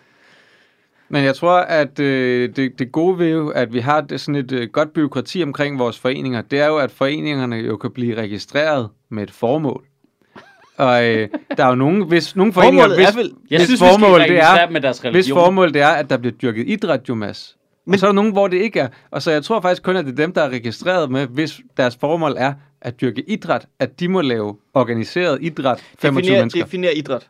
Speaker 2: Men jeg tror, at øh, det, det gode ved, jo, at vi har det, sådan et øh, godt byråkrati omkring vores foreninger, det er jo, at foreningerne jo kan blive registreret med et formål. Og øh, der er jo nogen, hvis, nogle foreninger,
Speaker 3: Formålet
Speaker 2: hvis,
Speaker 3: er vel-
Speaker 1: Jeg
Speaker 2: hvis
Speaker 1: synes,
Speaker 2: formål
Speaker 1: vi skal
Speaker 2: det
Speaker 1: registrere
Speaker 2: er,
Speaker 1: dem med deres
Speaker 2: hvis
Speaker 1: religion.
Speaker 2: formål det er, at der bliver dyrket idræt, jo Mads. Men
Speaker 3: Men-
Speaker 2: så er der nogen, hvor det ikke er. Og så jeg tror faktisk kun, at det er dem, der er registreret med, hvis deres formål er at dyrke idræt, at de må lave organiseret idræt 25
Speaker 3: Definér-
Speaker 2: mennesker. Det,
Speaker 3: Definér idræt.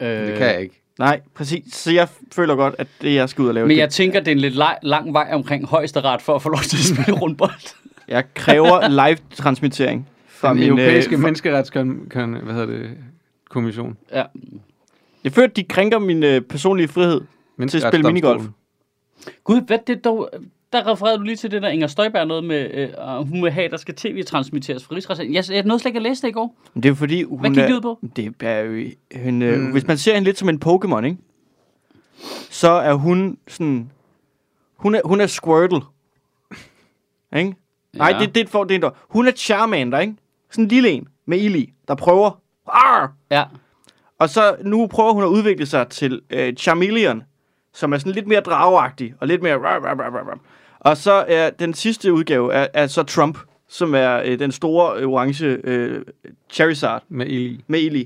Speaker 1: Øh,
Speaker 2: det kan jeg ikke.
Speaker 3: Nej, præcis. Så jeg føler godt, at det, jeg skal ud og lave,
Speaker 1: Men
Speaker 3: det.
Speaker 1: jeg tænker, det er en lidt lang, lang vej omkring højesteret for at få lov
Speaker 2: [laughs]
Speaker 1: til at spille rundbold.
Speaker 3: Jeg kræver live-transmittering fra
Speaker 2: Den
Speaker 3: min...
Speaker 2: europæiske
Speaker 3: øh,
Speaker 2: øh, menneskeretskommission, hvad hedder det, kommission.
Speaker 1: Ja.
Speaker 3: Jeg føler, at de krænker min øh, personlige frihed.
Speaker 2: Menneskeretsdomstolen.
Speaker 3: minigolf.
Speaker 1: Gud, hvad det dog... Der refererede du lige til det der Inger Støjberg noget med, øh, og hun vil have, at der skal tv-transmitteres fra Rigsretten. Jeg, jeg nåede slet ikke at læse det i går.
Speaker 3: Men det er fordi, hun
Speaker 1: gik
Speaker 3: er-
Speaker 1: det ud på?
Speaker 3: Det er jo, hun, øh,
Speaker 2: Mm.
Speaker 3: Hvis man ser hende lidt som en Pokémon, ikke? Så er hun sådan... Hun er, hun er Squirtle. Ikke? Nej,
Speaker 1: Ja.
Speaker 3: det, det, er et for, det er en dår. Hun er Charmander, ikke? Sådan en lille en med ild i, der prøver. Arr!
Speaker 1: Ja.
Speaker 3: Og så nu prøver hun at udvikle sig til øh, Charmeleon, som er sådan lidt mere dragagtig og lidt mere... Rah, rah, rah, rah, rah. Og så er den sidste udgave er, er så Trump, som er øh, den store øh, orange øh, Charizard
Speaker 2: Med ild i.
Speaker 3: med Eli.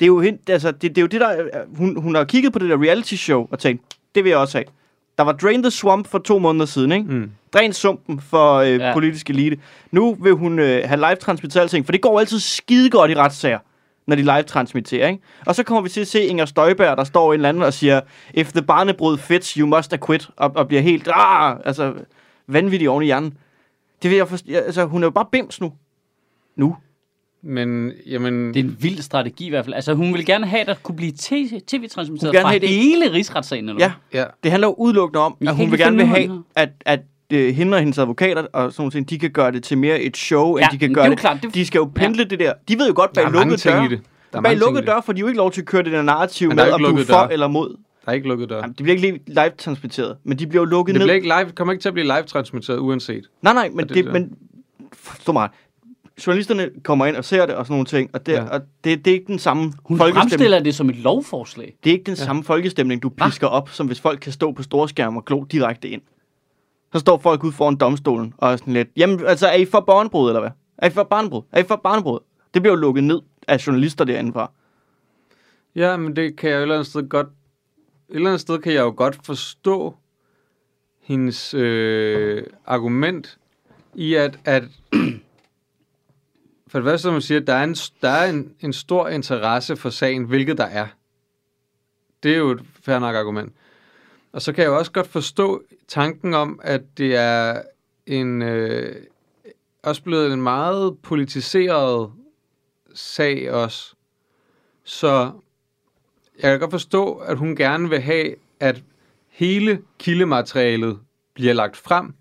Speaker 3: Det er jo, hende, altså, det, det er jo det, der... er- Hun, hun har kigget på det der reality show og tænkt, det vil jeg også have. Der var Drain the Swamp for to måneder siden, ikke?
Speaker 2: Mm.
Speaker 3: Dræn sumpen for øh,
Speaker 1: Ja.
Speaker 3: ja. politisk elite. Nu vil hun øh, have live-transmitteret alting, for det går altid skide godt i retssager, når de live-transmitterer, ikke? Og så kommer vi til at se Inger Støjberg, der står i en eller anden og siger, if the barnebrud fits, you must acquit, og, og bliver helt, ah, altså, vanvittig oven i hjernen. Det vil jeg forst- ja, altså, hun er jo bare bims nu. Nu.
Speaker 2: Men, jamen,
Speaker 1: Det er en vild strategi i hvert fald. Altså, hun vil gerne have, at der kunne blive t-
Speaker 3: Hun
Speaker 1: tv-transmitteret
Speaker 3: vil gerne
Speaker 1: fra
Speaker 3: have det-
Speaker 1: hele Rigsretssagen. Eller
Speaker 3: Ja,
Speaker 2: ja.
Speaker 3: Det handler jo udelukkende om,
Speaker 1: Jeg kan
Speaker 3: at hun
Speaker 1: ikke
Speaker 3: vil
Speaker 1: lige
Speaker 3: gerne vil
Speaker 1: finde
Speaker 3: have,
Speaker 1: ud
Speaker 3: at, at øh, hende og hendes advokater og sådan noget, de kan gøre det til mere et show,
Speaker 1: Ja,
Speaker 3: end de kan
Speaker 1: men
Speaker 3: gøre
Speaker 1: det er jo
Speaker 3: det.
Speaker 1: klart, det-
Speaker 3: De skal jo pendle det der. De ved jo godt
Speaker 2: Der
Speaker 3: bag
Speaker 2: er mange
Speaker 3: lukkede
Speaker 2: ting
Speaker 3: døre.
Speaker 2: i det. Der er mange
Speaker 3: Bag
Speaker 2: ting i
Speaker 3: lukkede
Speaker 2: det.
Speaker 3: døre får de jo ikke lov til at køre det der narrativ
Speaker 2: Men der er ikke
Speaker 3: med, om du er
Speaker 2: lukkede
Speaker 3: for
Speaker 2: døre.
Speaker 3: eller mod.
Speaker 2: Der er ikke lukket dør.
Speaker 3: Jamen, det bliver ikke lige live-transmitteret, men de bliver jo lukket
Speaker 2: Det
Speaker 3: ned.
Speaker 2: bliver ikke live, kommer ikke til at blive live-transmitteret uanset.
Speaker 3: Nej, nej, men,
Speaker 2: Og det
Speaker 3: det,
Speaker 2: der.
Speaker 3: men forstå mig. Journalisterne kommer ind og ser det og sådan nogle ting, og det,
Speaker 2: Ja.
Speaker 3: ja. og det, det er ikke den samme
Speaker 1: Hun
Speaker 3: folkestemning.
Speaker 1: fremstiller det som et lovforslag.
Speaker 3: Det er ikke den samme folkestemning, du pisker op, som hvis folk kan stå på storskærm og glo direkte ind. Så står folk ude foran domstolen og er sådan lidt, jamen altså, er I for barnebrud, eller hvad? Er I for barnebrud? Er I for barnebrud? Det bliver jo lukket ned af journalister derinde fra.
Speaker 2: Ja, men det kan jeg jo et eller andet sted godt... Et eller andet sted kan jeg jo godt forstå hendes øh, argument i, at, at [clears throat] for det første, som man siger, der er, en, der er en, en stor interesse for sagen, hvilket der er. Det er jo et fair nok argument. Og så kan jeg jo også godt forstå tanken om, at det er en øh, også blevet en meget politiseret sag også. Så jeg kan godt forstå, at hun gerne vil have, at hele kildematerialet bliver lagt frem,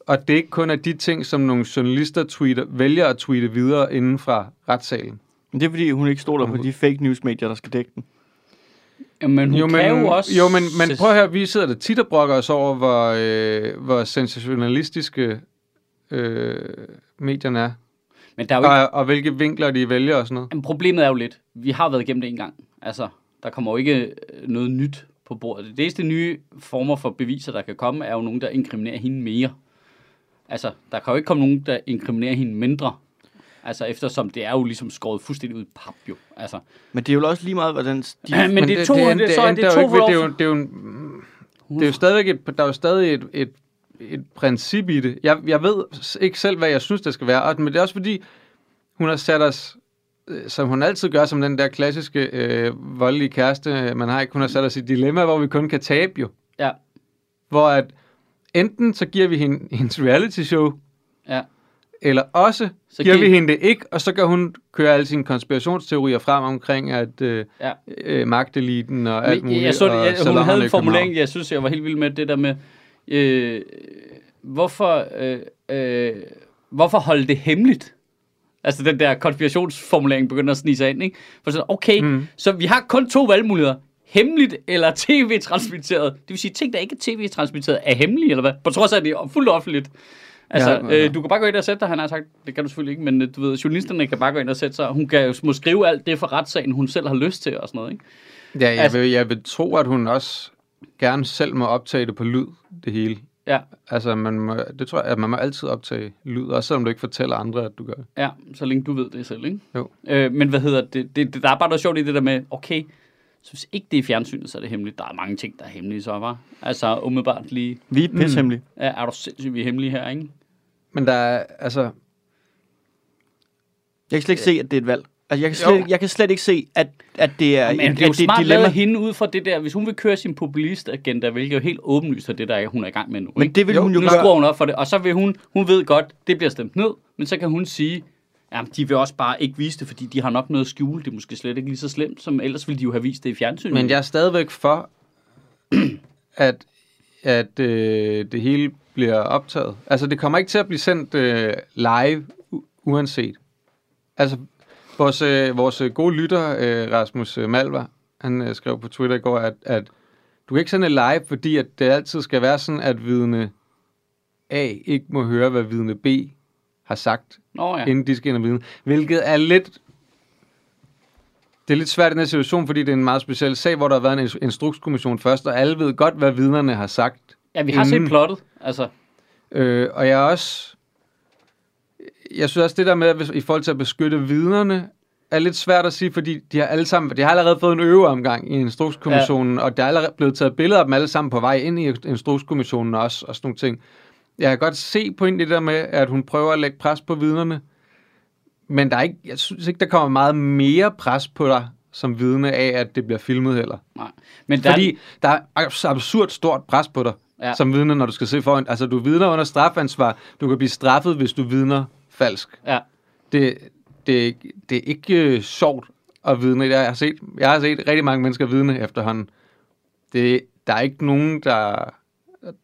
Speaker 2: og det ikke kun er de ting, som nogle journalister tweeter, vælger at tweete videre inden fra retssalen.
Speaker 3: Men det er fordi, hun ikke stoler på de fake news-medier, der skal dække den.
Speaker 1: Jamen, hun jo, men, kan jo også...
Speaker 2: jo, men, men prøv at høre, vi sidder der tit og brokker os over, hvor, øh, hvor sensationalistiske øh, medierne er,
Speaker 1: Men der er jo ikke
Speaker 2: og, og hvilke vinkler de vælger og sådan noget.
Speaker 1: Jamen, problemet er jo lidt, vi har været igennem det en gang. Altså, der kommer jo ikke øh, noget nyt på bordet. Det eneste nye former for beviser, der kan komme, er jo nogen, der inkriminerer hende mere. Altså, der kan jo ikke komme nogen, der inkriminerer hende mindre. Altså, eftersom det er jo ligesom skåret fuldstændig ud i pap, jo. Altså,
Speaker 3: Men det er jo også lige meget, hvordan de...
Speaker 1: men, men det er to, det, det, så er
Speaker 2: ændrer
Speaker 1: det
Speaker 2: jo
Speaker 1: to
Speaker 2: ikke ved- det er jo,
Speaker 1: for
Speaker 2: det er jo, en, det er jo stadigvæk et, der er jo stadig et, et, et princip i det. Jeg, jeg ved s- ikke selv, hvad jeg synes, det skal være, og, men det er også fordi, hun har sat os, øh, som hun altid gør, som den der klassiske øh, voldelige kæreste, øh, man har ikke, hun har sat os i et dilemma, hvor vi kun kan tabe jo.
Speaker 1: Ja,
Speaker 2: Hvor at enten så giver vi hende [laughs] hendes reality show,
Speaker 1: ja.
Speaker 2: eller også
Speaker 1: Så
Speaker 2: så giver
Speaker 1: giv-
Speaker 2: vi hende det ikke, og så kan hun køre alle sine konspirationsteorier frem omkring, at øh,
Speaker 1: Ja.
Speaker 2: øh, magteliten og alt
Speaker 1: Men jeg-
Speaker 2: muligt.
Speaker 1: Jeg så,
Speaker 2: og
Speaker 1: jeg, hun
Speaker 2: salonerne i
Speaker 1: havde en
Speaker 2: København.
Speaker 1: formulering, jeg synes, jeg var helt vild med, det der med, øh, hvorfor, øh, øh, hvorfor holde det hemmeligt? Altså den der konspirationsformulering begynder at snige sig ind, ikke? For sådan, okay, mm. så vi har kun to valgmuligheder. hemmeligt eller [laughs] tv-transmitteret. Det vil sige, ting, der ikke er tv-transmitteret, er hemmelige, eller hvad? På trods af, at det er fuldt offentligt. Altså,
Speaker 3: Ja,
Speaker 1: ja,
Speaker 3: ja,
Speaker 1: ja,
Speaker 3: ja.
Speaker 1: Øh, du kan bare gå ind og sætte dig, han har sagt, det kan du selvfølgelig ikke, men øh, du ved, journalisterne kan bare gå ind og sætte sig, og hun kan jo må skrive alt det for retssagen, hun selv har lyst til og sådan noget, ikke?
Speaker 2: Ja, jeg,
Speaker 1: Altså-
Speaker 2: vil, jeg vil tro, at hun også gerne selv må optage det på lyd, det hele.
Speaker 1: Ja,
Speaker 2: Altså, man må, det tror jeg, at man må altid optage lyd, også selvom du ikke fortæller andre, at du gør det.
Speaker 1: ja, så længe du ved det selv, ikke?
Speaker 2: Jo.
Speaker 1: Øh, men hvad hedder det, det, det? Der er bare noget sjovt i det der med, okay, så hvis ikke det er i fjernsynet, så er det hemmeligt. Der er mange ting, der er hemmelige, så var. Altså, umiddelbart lige,
Speaker 3: Vi er pishemmelige.
Speaker 1: ja, er du sindssygt, vi er hemmelige her, ikke?
Speaker 2: Men der er, altså,
Speaker 3: Jeg kan slet ikke se, at det er et valg. Altså, jeg kan
Speaker 1: Jo.
Speaker 3: slet, jeg kan slet ikke se, at, at det er,
Speaker 1: Men
Speaker 3: at
Speaker 1: det er jo
Speaker 3: det er
Speaker 1: smart dilemma.
Speaker 3: et dilemma.
Speaker 1: lavet af hende ud fra det der, hvis hun vil køre sin populistagenda, hvilket jo helt åbenlyst er det, der er, hun er i gang med nu.
Speaker 3: Men
Speaker 1: ikke?
Speaker 3: det vil
Speaker 2: Jo,
Speaker 3: hun jo
Speaker 1: nu
Speaker 3: gøre.
Speaker 1: skruer hun op for det, og så vil hun, hun ved godt, det bliver stemt ned, men så kan hun sige, jamen de vil også bare ikke vise det, fordi de har nok noget at skjule, det er måske slet ikke lige så slemt, som ellers ville de jo have vist det i fjernsynet.
Speaker 2: men jeg er stadigvæk for, [clears throat] at, at øh, det hele bliver optaget. Altså, det kommer ikke til at blive sendt øh, live, u- uanset. Altså, vores, øh, vores øh, gode lytter, øh, Rasmus øh, Malvar, han øh, skrev på Twitter i går, at, at du kan ikke sende det live, fordi at det altid skal være sådan, at vidne A ikke må høre, hvad vidne B har sagt
Speaker 1: Nå ja.
Speaker 2: ja. inden de skal ind og vidne. Hvilket er lidt... Det er lidt svært i den her situation, fordi det er en meget speciel sag, hvor der har været en ins- instrukskommission først, og alle ved godt, hvad vidnerne har sagt.
Speaker 1: ja, vi har set
Speaker 2: inden-
Speaker 1: plottet, altså.
Speaker 2: Øh, og jeg er også... Jeg synes også, det der med, at hvis, i forhold til at beskytte vidnerne, er lidt svært at sige, fordi de har alle sammen, de har allerede fået en øveomgang i Instrukskommissionen, ja. og der er allerede blevet taget billeder af dem alle sammen på vej ind i Instrukskommissionen også, og sådan nogle ting. Jeg kan godt se på det der med, at hun prøver at lægge pres på vidnerne, men der er ikke, jeg synes ikke, der kommer meget mere pres på dig som vidne af, at det bliver filmet heller.
Speaker 1: Nej. Men der
Speaker 2: Der
Speaker 1: er-
Speaker 2: Fordi der er abs- absurd stort pres på dig
Speaker 1: Ja.
Speaker 2: ja. som vidne, når du skal se foran. Altså, du vidner under strafansvar. Du kan blive straffet, hvis du vidner falsk.
Speaker 1: Ja.
Speaker 2: Det, det, er ikke- det er ikke øh, sjovt at vidne. Jeg har, set, jeg har set rigtig mange mennesker vidne efterhånden. Det, der er ikke nogen, der,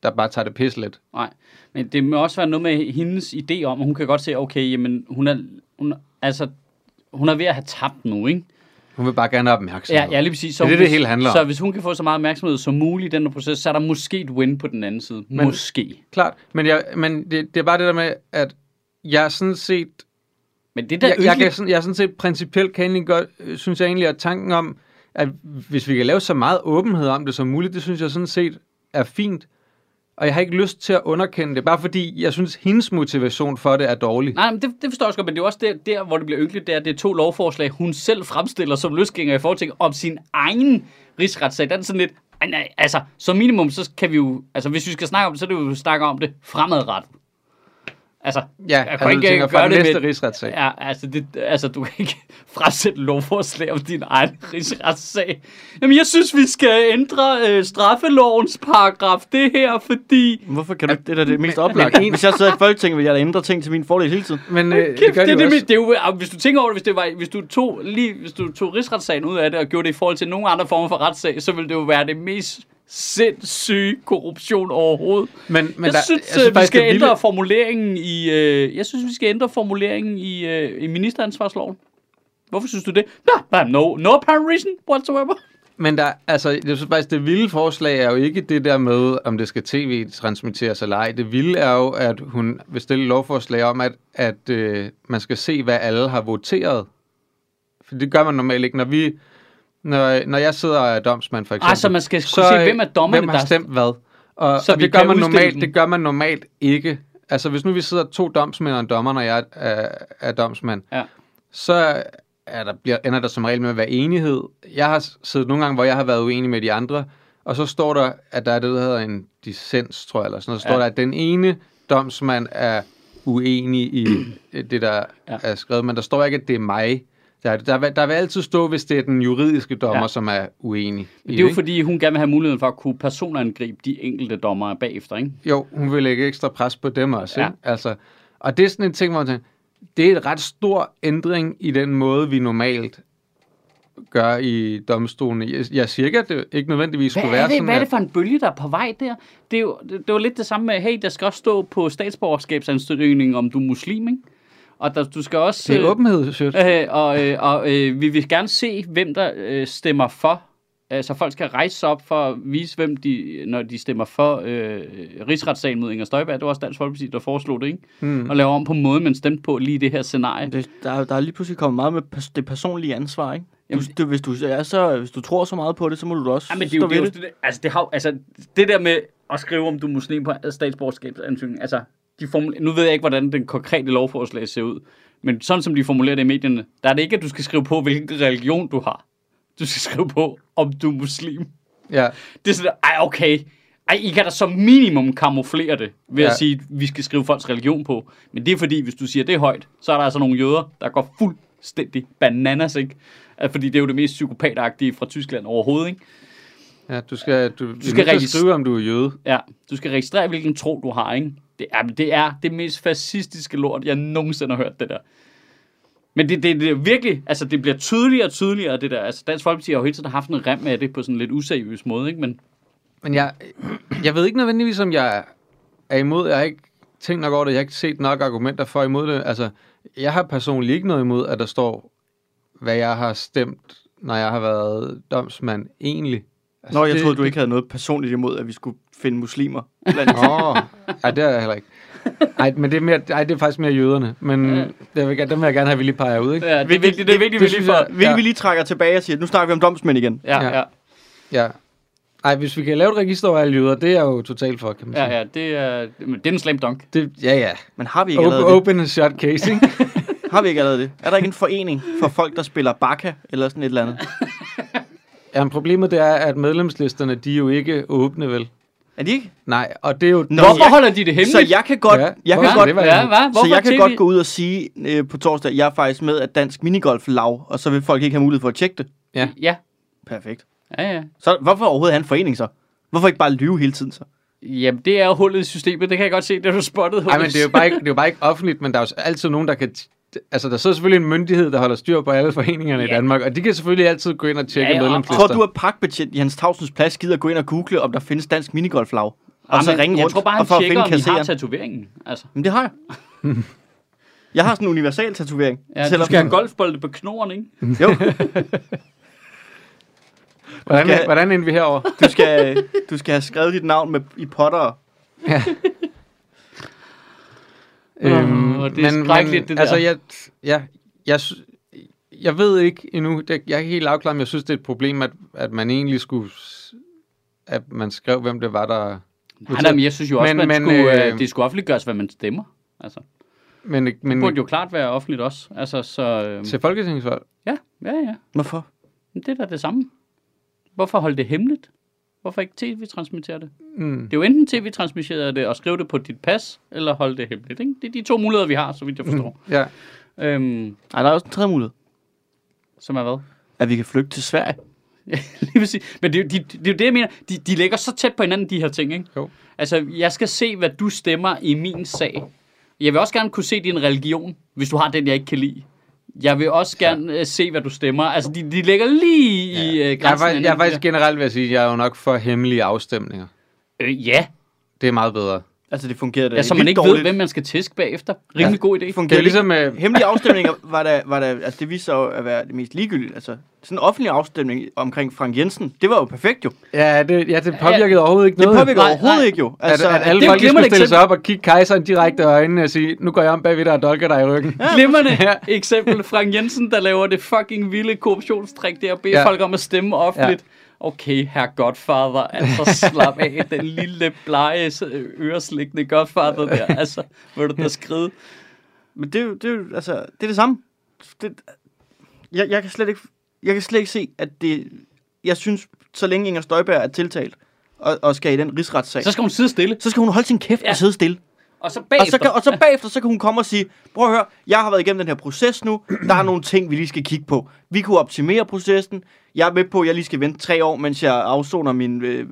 Speaker 2: der bare tager det pis lidt.
Speaker 1: Nej, men det må også være noget med hendes idé om, at hun kan godt se, okay, jamen, hun er, hun, altså, hun er ved at have tabt nu, ikke?
Speaker 2: Hun vil bare gerne have opmærksomhed.
Speaker 1: Ja, ja lige præcis. Så
Speaker 2: Det er det,
Speaker 1: hvis,
Speaker 2: det hele handler om.
Speaker 1: Så hvis hun kan få så meget opmærksomhed som muligt i den her proces, så er der måske et win på den anden side. Men, måske.
Speaker 2: Klart. Men, jeg, men det, det er bare det der med, at jeg er sådan set
Speaker 1: Men det der
Speaker 2: jeg, jeg,
Speaker 1: yderlig-
Speaker 2: kan sådan, jeg er sådan set principielt kan jeg egentlig godt, øh, synes jeg egentlig, at tanken om, at hvis vi kan lave så meget åbenhed om det som muligt, det synes jeg sådan set er fint. Og jeg har ikke lyst til at underkende det, bare fordi jeg synes, hendes motivation for det er dårlig.
Speaker 1: Nej, men det, det forstår jeg også godt, men det er også der, der hvor det bliver ynkeligt, det er, at det er to lovforslag, hun selv fremstiller som løsgænger i Folketinget om sin egen rigsretssag. Der er det sådan lidt, ej, nej, altså, som minimum, så kan vi jo, altså, hvis vi skal snakke om det, så er det jo snakke om det fremadrettet. Altså,
Speaker 2: Ja,
Speaker 1: jeg
Speaker 2: altså,
Speaker 1: kan
Speaker 2: du
Speaker 1: ikke
Speaker 2: tænker
Speaker 1: gøre
Speaker 2: fra
Speaker 1: det
Speaker 2: den næste
Speaker 1: med,
Speaker 2: rigsretssag.
Speaker 1: Ja, altså, det, altså, du kan ikke [laughs] fremsætte lovforslag om din egen rigsretssag. Jamen, jeg synes, vi skal ændre øh, straffelovens paragraf det her, fordi...
Speaker 3: Hvorfor kan du ikke? Det er da det mest oplagt.
Speaker 2: men en-
Speaker 3: Hvis jeg sidder i Folketinget, vil jeg da ændre ting til min fordel hele tiden.
Speaker 2: Men øh,
Speaker 1: Kæft, det,
Speaker 2: de
Speaker 1: det,
Speaker 2: jo
Speaker 1: det,
Speaker 2: også.
Speaker 1: det, det, er jo, ah, hvis du tænker over det, hvis, det var, hvis du tog, lige, hvis du tog rigsretssagen ud af det og gjorde det i forhold til nogen andre former for retssag, så ville det jo være det mest sindssyge korruption overhovedet.
Speaker 2: Men, men
Speaker 1: Men jeg,
Speaker 2: der,
Speaker 1: der, synes, jeg
Speaker 2: synes
Speaker 1: vi
Speaker 2: faktisk,
Speaker 1: skal
Speaker 2: det er
Speaker 1: ændre
Speaker 2: vildt.
Speaker 1: formuleringen i øh, jeg synes vi skal ændre formuleringen i, øh, i ministeransvarsloven. Hvorfor synes du det? Nå, No, no apparent reason whatsoever.
Speaker 2: Men der, altså, jeg synes faktisk, det vilde forslag er jo ikke det der med, om det skal tv-transmitteres eller ej. Det vilde er jo, at hun vil stille et lovforslag om, at, at øh, man skal se, hvad alle har voteret. For det gør man normalt ikke. Når, vi, når, når jeg sidder og er domsmand, for eksempel.
Speaker 1: Ah, så man skal kunne se,
Speaker 2: øh,
Speaker 1: hvem er dommerne,
Speaker 2: hvem har
Speaker 1: der-
Speaker 2: stemt hvad. Og,
Speaker 1: Så
Speaker 2: så og
Speaker 1: vi
Speaker 2: det, gør
Speaker 1: kan
Speaker 2: man
Speaker 1: udstille dem.
Speaker 2: normalt, det gør man normalt ikke. Altså, hvis nu vi sidder to domsmænd og en dommer, når jeg er, er, er domsmand,
Speaker 1: Ja.
Speaker 2: så er der, bliver, ender der som regel med at være enighed. Jeg har s- siddet nogle gange, hvor jeg har været uenig med de andre, og så står der, at der er det, der hedder en dissens, tror jeg, eller sådan noget. Så står
Speaker 1: Ja.
Speaker 2: ja. der, at den ene domsmand er uenig i [clears throat] øh, det, der
Speaker 1: Ja.
Speaker 2: ja. er skrevet, men der står ikke, at det er mig. Der, er det. der, vil, der vil altid stå, hvis det er den juridiske dommer,
Speaker 1: Ja.
Speaker 2: ja. som er uenig. i
Speaker 1: Det er jo
Speaker 2: ikke?
Speaker 1: fordi hun gerne vil have muligheden for at kunne personangribe de enkelte dommere bagefter, ikke?
Speaker 2: Jo, hun vil lægge ekstra pres på dem også.
Speaker 1: Ja.
Speaker 2: Ja. Ikke? Altså, og det er sådan en ting, hvor man tænker, det er en ret stor ændring i den måde, vi normalt gør i domstolene. Jeg, jeg siger ikke, at det ikke nødvendigvis skulle
Speaker 1: Hvad er,
Speaker 2: være
Speaker 1: det,
Speaker 2: sådan.
Speaker 1: hvad er det
Speaker 2: at-
Speaker 1: for en bølge, der er på vej der? Det, er jo, det, det var lidt det samme med, hey, der skal også stå på statsborgerskabsansøgningen, om du er muslim, ikke? Og der, du skal også...
Speaker 2: det
Speaker 1: øh,
Speaker 2: er åbenhed, synes jeg.
Speaker 1: Øh, og øh, og øh, vi vil gerne se, hvem der øh, stemmer for øh, så folk skal rejse sig op for at vise, hvem de, når de stemmer for øh, rigsretssagen mod Inger Støjberg. Det var også Dansk Folkeparti, der foreslog det, ikke?
Speaker 2: Mm.
Speaker 1: Og lave om på måden, man stemte på lige i det her scenarie.
Speaker 3: Det, der, er- der er lige pludselig kommet meget med pers- det personlige ansvar, ikke?
Speaker 1: Jamen,
Speaker 3: Jamen, du, hvis, du er så, hvis du tror så meget på det, så må du da også
Speaker 1: Ja, men det, er
Speaker 3: stå
Speaker 1: jo, det, er
Speaker 3: ved
Speaker 1: jo,
Speaker 3: det.
Speaker 1: det, altså, det, har, altså, det der med at skrive, om du er muslim på statsborgerskabsansøgningen, altså, de formule- nu ved jeg ikke, hvordan den konkrete lovforslag ser ud, men sådan som de formulerer det i medierne, der er det ikke, at du skal skrive på, hvilken religion du har. Du skal skrive på, om du er muslim.
Speaker 2: Ja.
Speaker 1: Det er sådan, ej, okay. Ej, I kan da som minimum kamuflere det, ved ja.
Speaker 2: Ja.
Speaker 1: at sige, at vi skal skrive folks religion på. Men det er fordi, hvis du siger det højt, så er der altså nogle jøder, der går fuldstændig bananas, ikke? Altså, Fordi det er jo det mest psykopatagtige fra Tyskland overhovedet, ikke?
Speaker 2: ja, du skal, du, du
Speaker 1: skal
Speaker 2: skal rigtig...
Speaker 1: registr-
Speaker 2: skrive, om du er jøde.
Speaker 1: Ja, du skal registrere, hvilken tro du har, ikke? Det er det, er det mest fascistiske lort, jeg nogensinde har hørt det der. Men det, det, det er virkelig, altså det bliver tydeligere og tydeligere, det der. Altså Dansk Folkeparti har jo hele tiden haft en rem af det på sådan en lidt useriøs måde, ikke? Men
Speaker 2: Men jeg, jeg ved ikke nødvendigvis, om jeg er imod. Jeg har ikke tænkt nok over det. Jeg har ikke set nok argumenter for og imod det. Altså, jeg har personligt ikke noget imod, at der står, hvad jeg har stemt, når jeg har været domsmand egentlig. Altså,
Speaker 3: Nå, jeg
Speaker 2: det-
Speaker 3: troede, du ikke havde noget personligt imod, at vi skulle finde
Speaker 1: [laughs]
Speaker 3: muslimer. Blandt
Speaker 2: Åh, ej, det er jeg heller ikke. Ej, men det er, mere, ej, det er faktisk mere jøderne. Men
Speaker 1: Ja.
Speaker 2: ja. jeg vil, gerne- dem vil jeg gerne have, at vi lige peger ud, ikke?
Speaker 1: ja, det er vigtigt, det er vigtigt, vi
Speaker 2: det
Speaker 1: lige
Speaker 2: synes
Speaker 1: får...
Speaker 2: jeg-
Speaker 3: Vi,
Speaker 2: Ja.
Speaker 3: vi lige trækker tilbage og siger, nu snakker vi om domsmænd igen.
Speaker 1: Ja,
Speaker 2: Ja.
Speaker 1: ja,
Speaker 2: Ja. Ej, hvis vi kan lave et register over alle jøder, det er jeg jo totalt for, kan man sige.
Speaker 1: ja, ja, det er, men det er en slam dunk.
Speaker 2: Det, ja, ja.
Speaker 3: Men har vi ikke allerede
Speaker 2: Open,
Speaker 3: det?
Speaker 2: open and shut case, ikke?
Speaker 3: Har vi ikke allerede det? Er der ikke en forening for folk, der spiller baka eller sådan et eller andet?
Speaker 2: Jamen, problemet det er, at medlemslisterne, de er jo ikke åbne, vel?
Speaker 3: Er de ikke?
Speaker 2: Nej, og det er jo...
Speaker 3: Nå,
Speaker 1: Hvorfor
Speaker 3: jeg-
Speaker 1: holder de det hemmeligt?
Speaker 3: Så jeg kan godt,
Speaker 2: Ja,
Speaker 3: jeg
Speaker 2: hvorfor
Speaker 3: kan
Speaker 2: er
Speaker 3: godt,
Speaker 2: det
Speaker 1: ja, hva? Hvorfor
Speaker 3: så jeg kan
Speaker 1: TV?
Speaker 3: godt gå ud og sige øh, på torsdag, at jeg er faktisk med, at Dansk Minigolf lav, og så vil folk ikke have mulighed for at tjekke det.
Speaker 2: Ja.
Speaker 1: Ja,
Speaker 3: Perfekt.
Speaker 1: ja, ja.
Speaker 3: Så hvorfor overhovedet have en forening så? Hvorfor ikke bare lyve hele tiden så?
Speaker 1: Jamen, det er jo hullet i systemet, det kan jeg godt se, det har du spottet hos.
Speaker 2: Ej, men det er, jo bare ikke, det er jo bare ikke offentligt, men der er jo altid nogen, der kan... t- Altså, der sidder selvfølgelig en myndighed, der holder styr på alle foreningerne ja. i
Speaker 1: Ja.
Speaker 2: Danmark, og de kan selvfølgelig altid gå ind og tjekke
Speaker 1: Ja,
Speaker 2: ja,
Speaker 1: ja, og-
Speaker 2: medlemslister.
Speaker 3: Tror du, at pakbetjent i Hans Tavsens plads gider gå ind og google, om der findes Dansk Minigolf lav? Og så
Speaker 1: Jamen,
Speaker 3: ringe
Speaker 1: jeg
Speaker 3: rundt
Speaker 1: tror bare, han
Speaker 3: og for at
Speaker 1: tjekker,
Speaker 3: finde
Speaker 1: om de har
Speaker 3: kasseren?
Speaker 1: tatoveringen. Altså.
Speaker 3: Men det har jeg.
Speaker 1: [laughs]
Speaker 3: Jeg har sådan en universal tatovering.
Speaker 1: Ja, du
Speaker 3: Selvom-
Speaker 1: skal have golfbolde på knoren, ikke?
Speaker 3: Jo,
Speaker 2: Hvordan,
Speaker 3: Skal-
Speaker 2: hvordan endte vi herover?
Speaker 3: du skal, du skal have skrevet dit navn med, i potter.
Speaker 1: Åh, det er skrækkeligt, det der.
Speaker 2: Øhm, Altså, jeg, jeg, jeg, sy- jeg ved ikke endnu, det, jeg er ikke helt afklaret, men jeg synes, det er et problem, at, at man egentlig skulle, s- at man skrev, hvem det var, der...
Speaker 1: Nej, nej, men jeg synes jo også,
Speaker 2: Men-
Speaker 1: men, man
Speaker 2: men,
Speaker 1: skulle,
Speaker 2: øh,
Speaker 1: øh, det skulle offentliggøres, hvad man stemmer. Altså,
Speaker 2: Men,
Speaker 1: det
Speaker 2: men
Speaker 1: burde jo klart være offentligt også. Altså, så, øh,
Speaker 2: til folketingsvalg?
Speaker 1: ja, ja, ja.
Speaker 3: Hvorfor?
Speaker 1: Men det er da det samme. Hvorfor holde det hemmeligt? Hvorfor ikke tv-transmittere det?
Speaker 2: Mm.
Speaker 1: Det er jo enten tv-transmittere det og skrive det på dit pas, eller holde det hemmeligt. Ikke? Det er de to muligheder, vi har, så vidt jeg forstår.
Speaker 2: Ja. Mm.
Speaker 1: øhm,
Speaker 3: Nej, der er også en tredje mulighed.
Speaker 1: som er hvad?
Speaker 3: At vi kan flygte til Sverige.
Speaker 1: Ja, [laughs] lige præcis. Men det, er jo- de, det er jo det, jeg mener. De, de ligger så tæt på hinanden, de her ting, ikke?
Speaker 2: Jo.
Speaker 1: Altså, jeg skal se, hvad du stemmer i min sag. Jeg vil også gerne kunne se din religion, hvis du har den, jeg ikke kan lide. Jeg vil også gerne ja. se, hvad du stemmer. Altså, de, de ligger lige ja. i øh,
Speaker 2: Jeg er,
Speaker 1: grænsen. af
Speaker 2: faktisk, jeg er
Speaker 1: hinanden,
Speaker 2: faktisk generelt ved at sige, at jeg er jo nok for hemmelige afstemninger.
Speaker 1: de der. Øh, ja.
Speaker 2: Det er meget bedre.
Speaker 3: Altså, det fungerede
Speaker 2: Øh,
Speaker 3: da
Speaker 1: ja, så man ikke ved, hvem man skal tæske bagefter. Rimelig ja. god idé.
Speaker 3: Det
Speaker 2: Det er
Speaker 3: fungerede
Speaker 2: ligesom...
Speaker 3: ligesom...
Speaker 2: Øh,
Speaker 3: Hemmelige afstemninger var der, var der, altså det viste sig jo at være det mest ligegyldige. Altså, sådan en offentlig afstemning omkring Frank Jensen, det var jo perfekt jo. Det
Speaker 2: ja, det, ja, det påvirkede overhovedet ikke noget.
Speaker 3: påvirker
Speaker 1: nej,
Speaker 3: overhovedet
Speaker 1: nej.
Speaker 3: ikke jo.
Speaker 2: Altså, at, at alle
Speaker 1: det er jo
Speaker 2: folk de skulle
Speaker 1: glimrende
Speaker 2: stille sig op
Speaker 1: eksempel.
Speaker 2: og kigge kejseren direkte i øjnene og sige, nu går jeg om bagved dig og dolker dig i ryggen.
Speaker 1: Glimrende eksempel. Frank Jensen, der laver det fucking vilde korruptionstrik der og beder
Speaker 2: Ja.
Speaker 1: ja. folk om at stemme offentligt. Ja. Okay, herr Godfather, altså slap
Speaker 3: [laughs]
Speaker 1: af, den lille blege øh, øreslikkende Godfather der, altså, hvor du der skride.
Speaker 3: Men det, er jo- det, er jo- altså, det er det samme. Det, jeg, jeg, kan slet ikke, jeg kan slet ikke se, at det... Jeg synes, så længe Inger Støjberg er tiltalt og, og skal i den rigsretssag,
Speaker 1: Så
Speaker 3: så,
Speaker 1: skal hun sidde stille,
Speaker 3: så skal hun holde sin kæft ja.
Speaker 1: Ja.
Speaker 3: og sidde stille.
Speaker 1: og så
Speaker 3: Og
Speaker 1: bagefter.
Speaker 3: så, kan, og så bagefter, så kan hun komme og sige, prøv at høre, jeg har været igennem den her proces nu, der er nogle ting, vi lige skal kigge på. Vi kunne optimere processen. Jeg er med på, at jeg lige skal vente tre år, mens jeg afsoner min øh,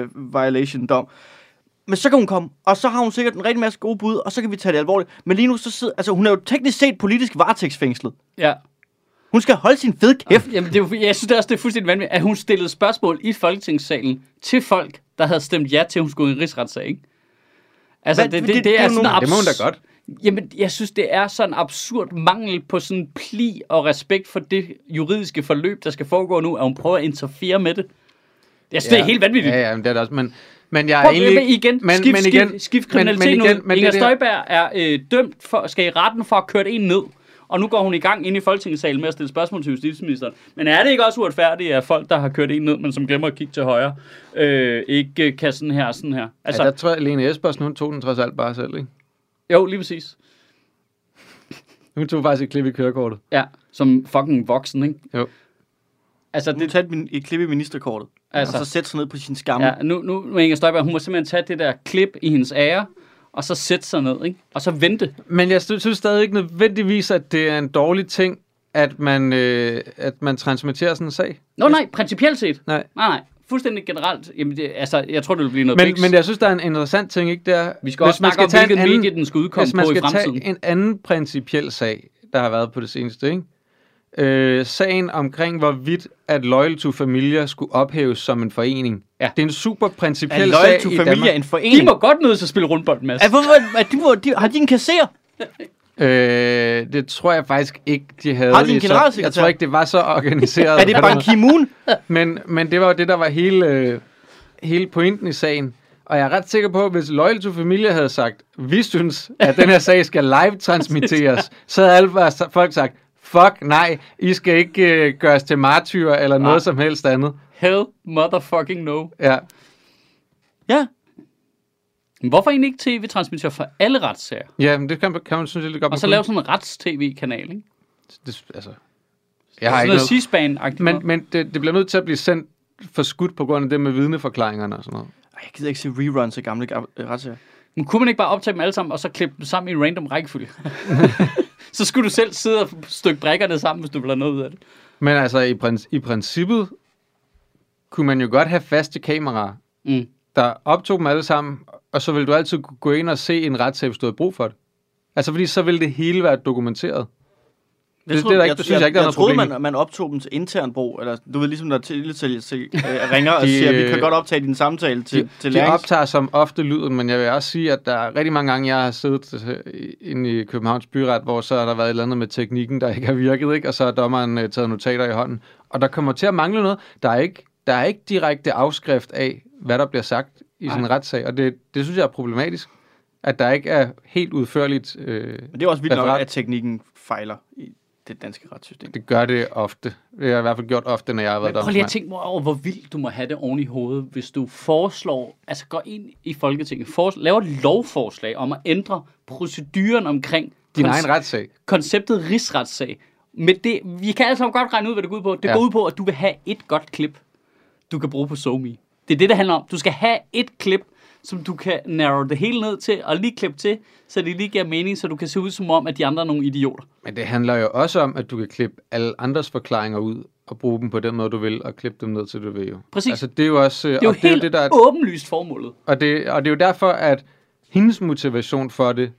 Speaker 3: minister-violation-dom. Men så kan hun komme, og så har hun sikkert en rigtig masse gode bud, og så kan vi tage det alvorligt. Men lige nu, så sidder, altså, hun er jo teknisk set politisk varetægtsfængslet.
Speaker 1: Ja.
Speaker 3: Hun skal holde sin fede kæft.
Speaker 1: Jamen, det, er jo- jeg synes det også, det er fuldstændig vanvittigt, at hun stillede spørgsmål i Folketingssalen til folk, der havde stemt ja til, at hun skulle i en rigsretssag, ikke? Altså,
Speaker 3: Hvad?
Speaker 1: det, det,
Speaker 3: Det-
Speaker 1: det,
Speaker 3: det er
Speaker 1: er
Speaker 3: jo
Speaker 1: sådan
Speaker 3: nogle-
Speaker 1: abs-
Speaker 2: Det må hun da godt.
Speaker 1: Jamen, jeg synes, det er sådan en absurd mangel på sådan pli og respekt for det juridiske forløb, der skal foregå nu, at hun prøver at interfere med det. Jeg synes, ja. det er helt vanvittigt.
Speaker 2: Ja, ja, men det er det også. Men, men jeg er
Speaker 1: Prøv at
Speaker 2: egentlig...
Speaker 1: egentlig, igen,
Speaker 2: men,
Speaker 1: skift,
Speaker 2: men igen,
Speaker 1: skift, skift kriminaliteten
Speaker 2: men, men igen,
Speaker 1: ud.
Speaker 2: men
Speaker 1: Inger
Speaker 2: det, der,
Speaker 1: Støjberg er øh, dømt for, skal i retten for at køre en ned. Og nu går hun i gang inde i Folketingssalen med at stille spørgsmål til justitsministeren. Men er det ikke også uretfærdigt, at folk, der har kørt en ned, men som glemmer at kigge til højre, øh, ikke øh, kan sådan her og sådan her?
Speaker 2: altså,
Speaker 1: Altså,
Speaker 2: ja, der tror jeg, Lene Espersen, hun tog den trods alt bare selv, ikke?
Speaker 1: jo, lige præcis.
Speaker 2: Hun tog faktisk et klip i kørekortet.
Speaker 1: Ja, som fucking voksen, ikke?
Speaker 2: Jo.
Speaker 1: Altså,
Speaker 3: Hun
Speaker 1: det,
Speaker 3: tager et, min- et klip i ministerkortet, altså.
Speaker 1: Altså.
Speaker 3: og så sætter sig ned på sin
Speaker 2: Mm.
Speaker 3: skamme.
Speaker 1: ja, nu, nu, nu er Inger Støjberg, hun må simpelthen tage det der klip i hendes ære, og så sætte sig ned, ikke? Og så vente.
Speaker 2: Men jeg sy- synes stadig ikke nødvendigvis, at det er en dårlig ting, at man, øh, at man transmitterer sådan en sag.
Speaker 1: Nå nej, principielt set.
Speaker 2: Nej.
Speaker 1: Nej, nej. Fuldstændig generelt. Jamen, det, altså, jeg tror, det vil blive noget
Speaker 2: Men,
Speaker 1: biks.
Speaker 2: men jeg synes, der er en interessant ting, ikke? Det er,
Speaker 1: Vi skal også snakke om, hvilket medie den skal udkomme
Speaker 2: hvis man
Speaker 1: på i
Speaker 2: skal
Speaker 1: fremtiden.
Speaker 2: tage en anden principiel sag, der har været på det seneste, ikke? Øh, sagen omkring, hvorvidt at Loyal to Familia skulle ophæves som en forening.
Speaker 1: Ja.
Speaker 2: Det er en super
Speaker 3: Er
Speaker 2: principiel
Speaker 3: Loyal
Speaker 2: sag
Speaker 3: to
Speaker 2: i
Speaker 3: Familia
Speaker 2: Danmark.
Speaker 3: en
Speaker 1: De
Speaker 3: forening?
Speaker 1: må godt nødes at spille rundbold, Mads.
Speaker 3: Er, hvorfor, er de, hvor, de, har de en kasserer?
Speaker 2: Øh, det tror jeg faktisk ikke, de havde.
Speaker 3: Har de en
Speaker 2: det så- Jeg
Speaker 3: generalsekretær?
Speaker 2: tror ikke, det var så
Speaker 1: [laughs]
Speaker 2: organiseret.
Speaker 3: Er det Ban Ki-moon?
Speaker 2: Men, men det var jo det, der var hele, øh, hele pointen i sagen. Og jeg er ret sikker på, at hvis Loyal to Familia havde sagt, vi synes, at den her sag skal
Speaker 1: [laughs]
Speaker 2: live-transmitteres, så havde alle vores- folk sagt, fuck nej, I skal ikke øh, gøres til martyrer eller noget
Speaker 1: Nej.
Speaker 2: som helst andet.
Speaker 1: Hell motherfucking no.
Speaker 2: Ja.
Speaker 3: Ja.
Speaker 1: Men Hvorfor egentlig ikke tv-transmitter for alle retssager?
Speaker 2: ja, men det kan, kan man synes, det er lidt godt.
Speaker 1: Og
Speaker 2: man
Speaker 1: så
Speaker 2: kunne.
Speaker 1: lave sådan en rets-tv-kanal, ikke?
Speaker 2: Det, altså, jeg har
Speaker 1: sådan
Speaker 2: ikke
Speaker 1: noget
Speaker 2: noget.
Speaker 1: C-SPAN-agtigt.
Speaker 2: Men, men det, det bliver nødt til at blive sendt for skudt på grund af det med vidneforklaringerne og sådan noget.
Speaker 3: Ej, jeg gider ikke se reruns af gamle gam- øh, retssager.
Speaker 1: Men kunne man ikke bare optage dem alle sammen, og så klippe dem sammen i en random rækkefølge? [laughs] så skulle du selv sidde og stykke brækkerne sammen, hvis du ville have noget ud af det.
Speaker 2: Men altså, i, princ- i princippet kunne man jo godt have faste kameraer,
Speaker 1: Mm.
Speaker 2: der optog dem alle sammen, og så ville du altid kunne gå ind og se en retssag, hvis du havde brug for det. Altså, fordi så ville det hele være dokumenteret. Det- det er der ikke- det synes jeg ikke, der er
Speaker 3: jeg
Speaker 2: noget
Speaker 3: troede,
Speaker 2: problem i.
Speaker 3: man, man optog dem til intern brug. Eller, du ved, ligesom når telesælger til,
Speaker 2: [laughs]
Speaker 3: øh, ringer og
Speaker 2: De,
Speaker 3: siger, vi kan
Speaker 2: øh,
Speaker 3: godt optage din samtale til,
Speaker 2: De,
Speaker 3: til
Speaker 2: de
Speaker 3: lærings.
Speaker 2: optager som ofte lyden, men jeg vil også sige, at der er rigtig mange gange, jeg har siddet øh, inde i Københavns Byret, hvor så har der været et eller andet med teknikken, der ikke har virket, ikke? og så har dommeren øh, taget notater i hånden. Og der kommer til at mangle noget. Der er ikke, der er ikke direkte afskrift af, hvad der bliver sagt i sådan en retssag, og det, det synes jeg er problematisk, at der ikke er helt udførligt. Øh,
Speaker 3: Men det er også vildt nok,
Speaker 2: Referat.
Speaker 3: at teknikken fejler i det danske retssystem.
Speaker 2: det gør det ofte. Det har jeg i hvert fald gjort ofte, når jeg har været
Speaker 1: Men prøv lige at
Speaker 2: domsmand.
Speaker 1: tænke mig over, hvor vildt du må have det oven i hovedet, hvis du foreslår, altså går ind i Folketinget, for, laver et lovforslag om at ændre proceduren omkring
Speaker 2: Din
Speaker 1: konce-
Speaker 2: egen retssag.
Speaker 1: konceptet rigsretssag. Men det, vi kan alle sammen godt regne ud, hvad det går ud på. Det
Speaker 2: Ja.
Speaker 1: ja. går ud på, at du vil have et godt klip, du kan bruge på SoMe. Det er det, det handler om. Du skal have et klip, som du kan narrow det hele ned til, og lige klippe til, så det lige giver mening, så du kan se ud som om, at de andre er nogle idioter.
Speaker 2: Men det handler jo også om, at du kan klippe alle andres forklaringer ud og bruge dem på den måde, du vil, og klippe dem ned til, du vil jo.
Speaker 1: Præcis.
Speaker 2: Altså, det er jo også...
Speaker 1: Det er jo
Speaker 2: og
Speaker 1: helt
Speaker 2: det, er jo det, der, er-
Speaker 1: åbenlyst formålet.
Speaker 2: og, det, og det er jo derfor, at hendes motivation for det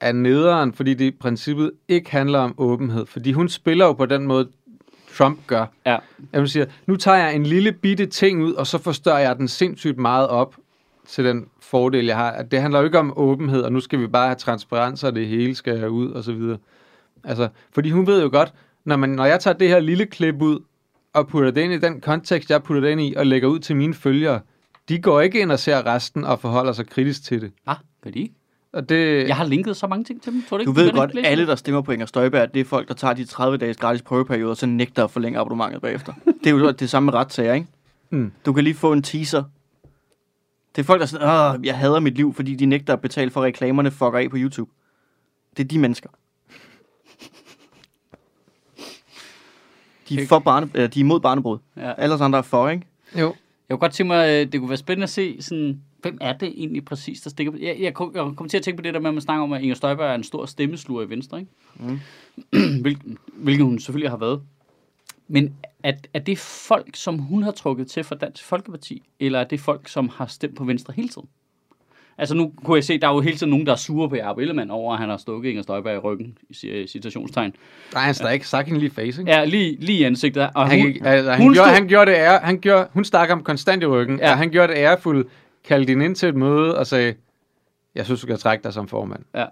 Speaker 2: er nederen, fordi det i princippet ikke handler om åbenhed. Fordi hun spiller jo på den måde, Trump gør.
Speaker 1: Ja.
Speaker 2: At hun siger, nu tager jeg en lille bitte ting ud, og så forstørrer jeg den sindssygt meget op til den fordel, jeg har. At Det handler jo ikke om åbenhed, og nu skal vi bare have transparens, og det hele skal ud, og så videre. Altså, fordi hun ved jo godt, når, man, når jeg tager det her lille klip ud, og putter det ind i den kontekst, jeg putter det ind i, og lægger ud til mine følgere, de går ikke ind og ser resten og forholder sig kritisk til det.
Speaker 1: Ah, gør de ikke?
Speaker 2: Og det,
Speaker 1: Jeg har linket så mange ting til dem. Tror du, ikke,
Speaker 3: Du
Speaker 1: kan
Speaker 3: ved
Speaker 1: ikke
Speaker 3: godt,
Speaker 1: læse
Speaker 3: alle,
Speaker 1: det?
Speaker 3: der stemmer på Inger Støjberg, det er folk, der tager de 30 dages gratis prøveperiode, og så nægter at forlænge
Speaker 2: [laughs]
Speaker 3: abonnementet bagefter. Det er jo det samme med retssager, ikke?
Speaker 2: Mm.
Speaker 3: Du kan lige få en teaser. Det er folk, der er sådan, Åh, jeg hader mit liv, fordi de nægter at betale for at reklamerne, fucker af på YouTube. Det er de mennesker. De er, for barne, eller de er imod barnebrud.
Speaker 1: Ja.
Speaker 3: Alle os andre er for, ikke?
Speaker 2: jo,
Speaker 1: Jeg kunne godt tænke mig, øh, det kunne være spændende at se, sådan, hvem er det egentlig præcis, der stikker på? Jeg, jeg, kom- jeg kom til at tænke på det der med, at man snakker om, at Inger Støjberg er en stor stemmeslur i Venstre, ikke? [clears throat] Mm. Hvilken, hvilken hun selvfølgelig har været. Men er, er det folk, som hun har trukket til fra Dansk Folkeparti, eller er det folk, som har stemt på Venstre hele tiden? Altså nu kunne jeg se, der er jo hele tiden nogen, der er sure på Jacob Ellemann over, at han har stukket Inger Støjberg i ryggen, i ci- øh, citationstegn.
Speaker 2: der er en stræk, sagt hende lige i face, ikke?
Speaker 1: Ja, lige, lige i ansigtet. Og
Speaker 2: Han,
Speaker 1: hun,
Speaker 2: gik, altså, han,
Speaker 1: hun
Speaker 2: gjorde,
Speaker 1: stod-
Speaker 2: han gjorde det ære, han gjorde, hun stak ham konstant i ryggen, ja.
Speaker 1: Ja.
Speaker 2: og han gjorde det ærefuldt, kaldte hende ind til et møde og sagde, jeg synes, du kan trække dig som formand.
Speaker 1: Ja.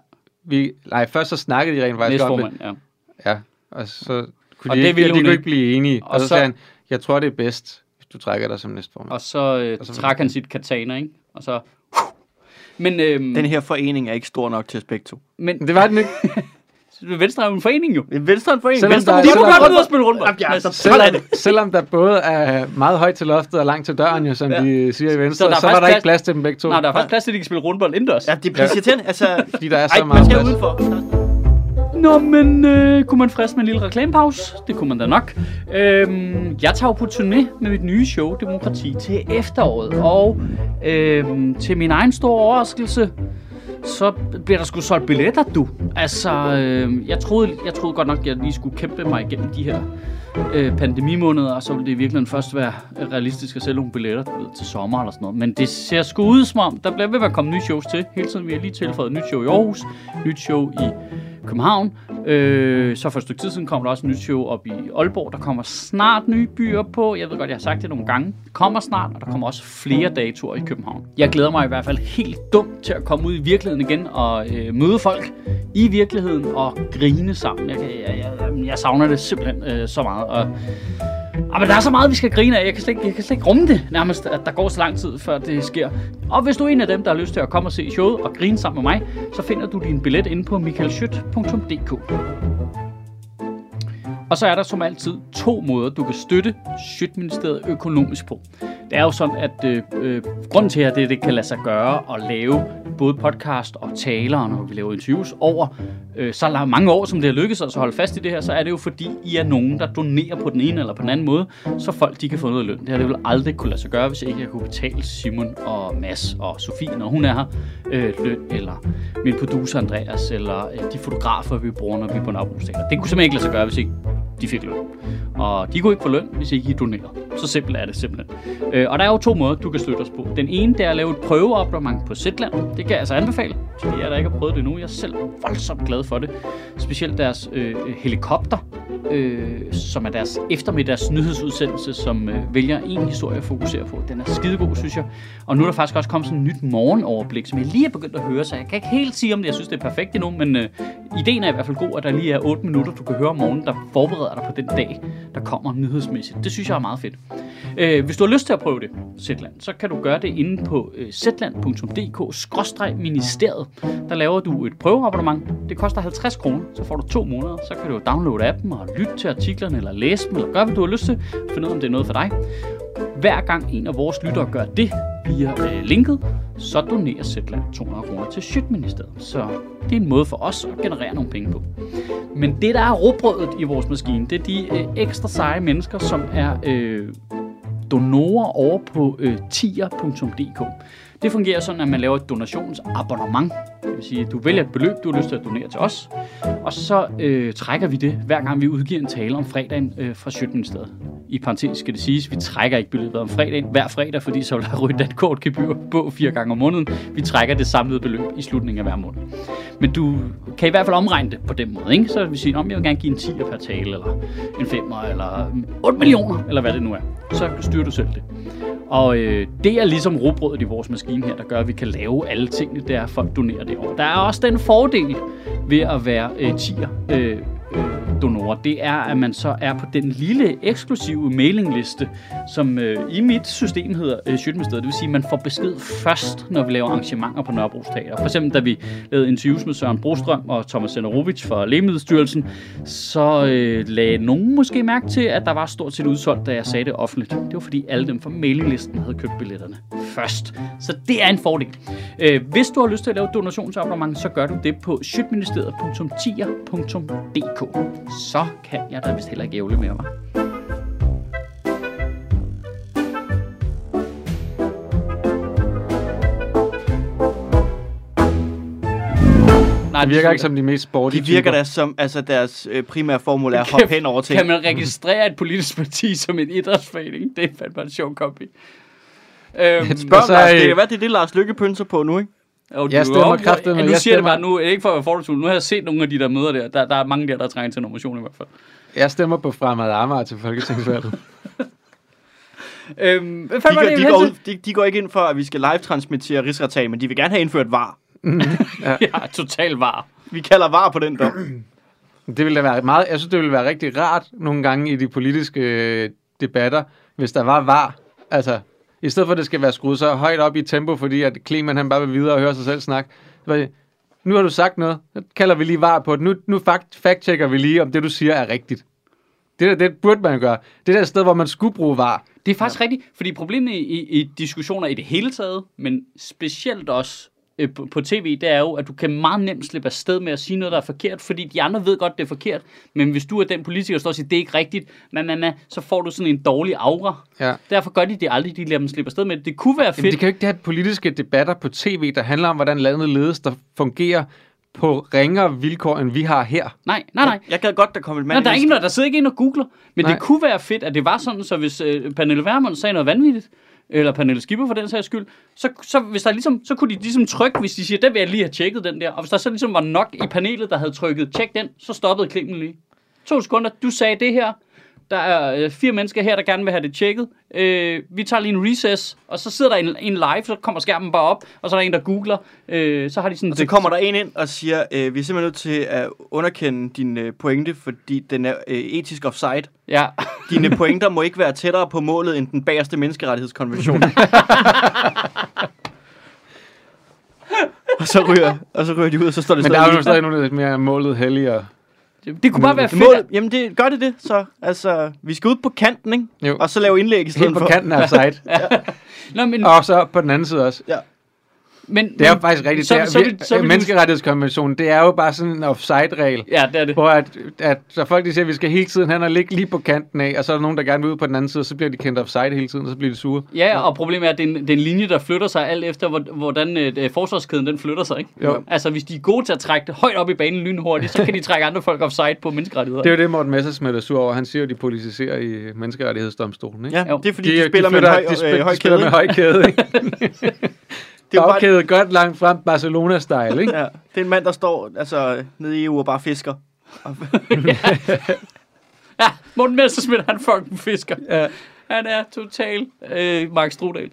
Speaker 2: Vi, nej, først så snakkede de rent faktisk om
Speaker 1: Næstformand, ja.
Speaker 2: det. Ja, og så kunne
Speaker 1: Og
Speaker 2: de,
Speaker 1: det
Speaker 2: ikke,
Speaker 1: ville
Speaker 2: de
Speaker 1: hun
Speaker 2: kunne
Speaker 1: ikke.
Speaker 2: ikke blive enige. Og,
Speaker 1: Og
Speaker 2: så,
Speaker 1: så-
Speaker 2: sagde han, jeg tror, det er bedst, hvis du trækker dig som næstformand.
Speaker 1: Og så, øh,
Speaker 2: Og så-
Speaker 1: trak han sit katana, ikke? Og så... Men, øhm,
Speaker 3: Den her forening er ikke stor nok til Aspekto.
Speaker 1: men
Speaker 2: Det
Speaker 1: [laughs]
Speaker 2: var den ikke.
Speaker 1: Venstre er jo en forening, jo.
Speaker 3: Venstre er en forening.
Speaker 2: Selvom
Speaker 3: Venstre
Speaker 2: der er-
Speaker 1: De
Speaker 3: må
Speaker 1: må
Speaker 2: Selvom-
Speaker 1: godt ud og spille rundbold.
Speaker 3: Ja,
Speaker 1: Altså,
Speaker 3: så er
Speaker 2: Selvom,
Speaker 3: det.
Speaker 2: selvom der både er meget højt til loftet og langt til døren, jo, som ja.
Speaker 1: Ja.
Speaker 2: de siger i Venstre,
Speaker 1: Så
Speaker 2: så,
Speaker 1: der er
Speaker 2: så var der
Speaker 1: faktisk
Speaker 2: ikke
Speaker 1: plads-
Speaker 2: plads til dem begge to.
Speaker 1: Nej, der er faktisk plads til, at de kan spille rundbold indendørs.
Speaker 3: Ja, det er pisse irriterende.
Speaker 2: [laughs]
Speaker 3: Altså,
Speaker 2: Fordi der er så
Speaker 3: ej, man
Speaker 2: meget
Speaker 3: skal
Speaker 2: plads.
Speaker 3: udenfor.
Speaker 1: Nå, men øh, kunne man friste med en lille reklamepause? Det kunne man da nok. Øhm, jeg tager jo på turné med mit nye show, Demokrati, til efteråret. Og øhm, til min egen store overraskelse, så bliver der sgu solgt billetter, du. Altså, øh, jeg, troede, jeg troede godt nok, at jeg lige skulle kæmpe mig igennem de her øh, pandemimåneder, og så ville det i virkeligheden først være realistisk at sælge nogle billetter du ved, til sommer eller sådan noget. Men det ser sgu ud som om, der bliver ved med at komme nye shows til. Hele tiden, vi har lige tilføjet et nyt show i Aarhus, nyt show i København. Øh, så for et stykke tid siden kom der også et nyt show op i Aalborg. Der kommer snart nye byer på. Jeg ved godt, jeg har sagt det nogle gange. Det kommer snart, og der kommer også flere datoer i København. Jeg glæder mig i hvert fald helt dumt til at komme ud i virkeligheden igen og øh, møde folk i virkeligheden og grine sammen. Jeg, kan, jeg, jeg, jeg savner det simpelthen øh, så meget. Og, Ah, men der er så meget, vi skal grine af. Jeg kan, slet ikke, jeg kan slet ikke rumme det nærmest, at der går så lang tid, før det sker. Og hvis du er en af dem, der har lyst til at komme og se showet og grine sammen med mig, så finder du din billet inde på michaelschødt.dk. Og så er der som altid to måder, du kan støtte Sjøtministeriet økonomisk på. Det er jo sådan, at øh, øh, grunden til, at det, det kan lade sig gøre at lave både podcast og taler, når vi laver interviews, over øh, så la- mange år, som det har lykkedes os at holde fast i det her, så er det jo fordi, I er nogen, der donerer på den ene eller på den anden måde, så folk de kan få noget løn. Det har det vel aldrig kunne lade sig gøre, hvis ikke jeg kunne betale Simon og Mads og Sofie, når hun er her, øh, løn, eller min producer Andreas, eller øh, de fotografer, vi bruger, når vi er på nabostænder. Det kunne simpelthen ikke lade sig gøre, hvis ikke de fik løn. Og de kunne ikke få løn, hvis ikke I donerede. Så simpelt er det simpelthen. Øh, og der er jo to måder, du kan støtte os på. Den ene, det er at lave et prøveabonnement på Zetland. Det kan jeg altså anbefale, til jer, der ikke har prøvet det endnu. Jeg er selv voldsomt glad for det. Specielt deres øh, helikopter, øh, som er deres eftermiddags nyhedsudsendelse, som øh, vælger en historie at fokusere på. Den er skidegod, synes jeg. Og nu er der faktisk også kommet sådan et nyt morgenoverblik, som jeg lige er begyndt at høre, så jeg kan ikke helt sige, om det, jeg synes, det er perfekt endnu, men øh, ideen er i hvert fald god, at der lige er 8 minutter, du kan høre om morgenen, der forbereder dig på den dag, der kommer nyhedsmæssigt. Det synes jeg er meget fedt. Øh, hvis du har lyst til at prøve det, Zetland, så kan du gøre det inde på øh, zetland.dk-ministeriet. Der laver du et prøveabonnement. Det koster 50 kroner, så får du to måneder. Så kan du downloade appen og lytte til artiklerne, eller læse dem, eller gøre, hvad du har lyst til. Find ud af, om det er noget for dig. Hver gang en af vores lyttere gør det via øh, linket, så donerer Zetland 200 kroner til Sjøtministeriet. Så det er en måde for os at generere nogle penge på. Men det, der er råbrødet i vores maskine, det er de øh, ekstra seje mennesker, som er øh, donorer over på øh, tier.dk. Det fungerer sådan, at man laver et donationsabonnement. Det vil sige, at du vælger et beløb, du har lyst til at donere til os. Og så øh, trækker vi det, hver gang vi udgiver en tale om fredagen øh, fra Sjøtministeriet. I parentes skal det siges, vi trækker ikke beløbet om fredagen hver fredag, fordi så vil der ryge et kort gebyr på fire gange om måneden. Vi trækker det samlede beløb i slutningen af hver måned. Men du kan i hvert fald omregne det på den måde, ikke? Så vil vi sige, om jeg vil gerne give en 10'er per tale, eller en 5'er, eller 8 millioner, eller hvad det nu er. Så styrer du selv det. Og øh, det er ligesom robrødet i vores maskine her, der gør, at vi kan lave alle tingene, der folk donerer det over. Der er også den fordel ved at være øh, tier øh, øh, donorer, det er, at man så er på den lille eksklusive mailingliste, som øh, i mit system hedder øh, Sjøtministeriet. Det vil sige, at man får besked først, når vi laver arrangementer på Nørrebro Teater. For eksempel, da vi lavede interviews med Søren Brostrøm og Thomas Senderovic fra Lægemiddelstyrelsen, så øh, lagde nogen måske mærke til, at der var stort set udsolgt, da jeg sagde det offentligt. Det var fordi alle dem fra mailinglisten havde købt billetterne først. Så det er en fordel. Øh, hvis du har lyst til at lave et donationsabonnement, så gør du det på sjøtministeriet.tier.dk. Så kan jeg da vist heller ikke ævle mere, var. Nej,
Speaker 2: Det virker ikke som de mest sportige
Speaker 3: De virker
Speaker 2: typer.
Speaker 3: da som, altså deres øh, primære formål er at hoppe hen over ting.
Speaker 1: Kan man registrere et politisk parti [laughs] som en idrætsforening? Det er fandme en sjov kombi. Øhm,
Speaker 3: Spørg
Speaker 2: Altså,
Speaker 3: altså, Lars, det
Speaker 2: øh,
Speaker 3: kan være, det er det, Lars Lykke pynser på nu, ikke?
Speaker 1: og
Speaker 2: Jeg
Speaker 1: du-
Speaker 2: stemmer
Speaker 1: og-
Speaker 2: kraftedeme,
Speaker 1: og Nu
Speaker 2: jeg
Speaker 1: siger jeg det
Speaker 2: stemmer-
Speaker 1: bare nu, ikke for at fortune. Nu har jeg set nogle af de der møder der. Der, der er mange der, der trænger til nomination i hvert fald.
Speaker 2: Jeg stemmer på Fremad Amager til Folketingsvalget.
Speaker 1: Øhm, hvad
Speaker 3: De,
Speaker 1: fanden var
Speaker 3: går,
Speaker 1: det,
Speaker 3: de,
Speaker 1: jeg
Speaker 3: går
Speaker 1: ville [laughs]
Speaker 3: ud, de, de går ikke ind for, at vi skal live-transmittere rigsretssagen, men de vil gerne have indført var.
Speaker 1: hen til? Ja, totalt var.
Speaker 3: Vi kalder var på den
Speaker 1: [clears throat]
Speaker 3: dom.
Speaker 2: Det ville da være meget, jeg synes, det ville være rigtig rart nogle gange i de politiske øh, debatter, hvis der var var. Altså, i stedet for, at det skal være skruet så højt op i tempo, fordi at Kleman han bare vil videre og høre sig selv snakke. Så var det, Nu har du sagt noget, så kalder vi lige var på det. Nu, nu fakt, fact-checker vi lige, om det, du siger, er rigtigt. Det der, det burde man gøre. Det der sted, hvor man skulle bruge var.
Speaker 1: Det er faktisk ja. rigtigt, fordi problemet i, i, i diskussioner i det hele taget, men specielt også øh, på, på tv, det er jo, at du kan meget nemt slippe af sted med at sige noget, der er forkert, fordi de andre ved godt, det er forkert, men hvis du er den politiker, der står og siger, det er ikke rigtigt, man, man, man, så får du sådan en dårlig aura.
Speaker 2: Ja.
Speaker 1: Derfor gør de det aldrig, de lader dem slippe af sted med det. Det kunne være fedt.
Speaker 2: Jamen, det kan jo ikke det her politiske debatter på tv, der handler om, hvordan landet ledes, der fungerer på ringere vilkår, end vi har her.
Speaker 1: Nej, nej, nej.
Speaker 3: Jeg gad godt, der kom en mand.
Speaker 1: Nej, der er
Speaker 3: ind i
Speaker 1: ikke noget, der sidder ikke en og googler. Men Nej.
Speaker 2: Nej.
Speaker 1: det kunne være fedt, at det var sådan, så hvis øh, Pernille Vermund sagde noget vanvittigt, eller Pernille Skipper for den sags skyld, så, så, hvis der ligesom, så kunne de ligesom trykke, hvis de siger, den vil jeg lige have tjekket, den der. Og hvis der så ligesom var nok i panelet, der havde trykket, tjek den, så stoppede klippen lige. To sekunder, du sagde det her. Der er øh, fire mennesker her, der gerne vil have det tjekket. Øh, vi tager lige en recess, og så sidder der en, en live, så kommer skærmen bare op, og så er der en, der googler. Øh, så har de sådan...
Speaker 3: Og så kommer der en ind og siger, øh, vi er simpelthen nødt til at underkende din øh, pointe, fordi den er øh, etisk offside.
Speaker 1: Ja. [laughs]
Speaker 3: Dine pointer må ikke være tættere på målet end den
Speaker 1: [laughs]
Speaker 3: bagerste menneskerettighedskonvention. og, så ryger, og så ryger de ud, og så står det
Speaker 2: Men der
Speaker 3: stadig
Speaker 2: er jo
Speaker 3: lige-
Speaker 2: stadig nogen, der er lidt mere målet helligere.
Speaker 1: Det, det kunne bare være fedt.
Speaker 3: Målet, jamen, det, gør det det, så? Altså, vi skal ud på kanten, ikke?
Speaker 2: Jo.
Speaker 3: Og så lave indlæg i stedet
Speaker 2: Helt
Speaker 3: for.
Speaker 2: på kanten
Speaker 3: [laughs]
Speaker 2: af site.
Speaker 1: Nå, men,
Speaker 2: Og så på den anden side også.
Speaker 1: men,
Speaker 2: Det er jo
Speaker 1: men-
Speaker 2: faktisk rigtigt.
Speaker 1: Så,
Speaker 2: Så, det er,
Speaker 1: så, vil- så,
Speaker 2: så,
Speaker 1: vil du-
Speaker 2: menneskerettighedskonventionen, det er jo bare sådan en offside-regel.
Speaker 1: Ja, det er det.
Speaker 2: Hvor at, at så folk de siger, at vi skal hele tiden hen og ligge lige på kanten af, og så er der nogen, der gerne vil ud på den anden side, og så bliver de kendt offside hele tiden, og så bliver de sure.
Speaker 1: Ja, og problemet er, at det er en, det er en linje, der flytter sig alt efter, hvor- hvordan øh, øh, forsvarskæden den flytter sig. Ikke?
Speaker 2: Jo.
Speaker 1: Altså, hvis de er gode til at trække det højt op i banen lynhurtigt, så kan de trække andre folk offside på menneskerettigheder.
Speaker 2: Det er jo det, Morten Messersmith er sur over. Han siger jo, at de politiserer i menneskerettighedsdomstolen, ikke?
Speaker 3: Ja,
Speaker 1: Jo.
Speaker 3: det er fordi, de, de spiller med en høj,
Speaker 2: de, spil,
Speaker 3: øh, høj
Speaker 2: de spiller
Speaker 3: kæde.
Speaker 2: med
Speaker 3: ikke?
Speaker 2: høj
Speaker 3: [laughs]
Speaker 2: kæde, ikke?
Speaker 3: Det er jo bare,
Speaker 2: Bagkæde godt langt frem, Barcelona-style, ikke?
Speaker 3: ja, det er en mand, der står altså, nede i EU og bare fisker.
Speaker 2: [laughs]
Speaker 3: Og-
Speaker 1: Ja, Morten Messerschmidt, han fucking fisker.
Speaker 2: Ja.
Speaker 1: Han er total øh, Mark Strudal.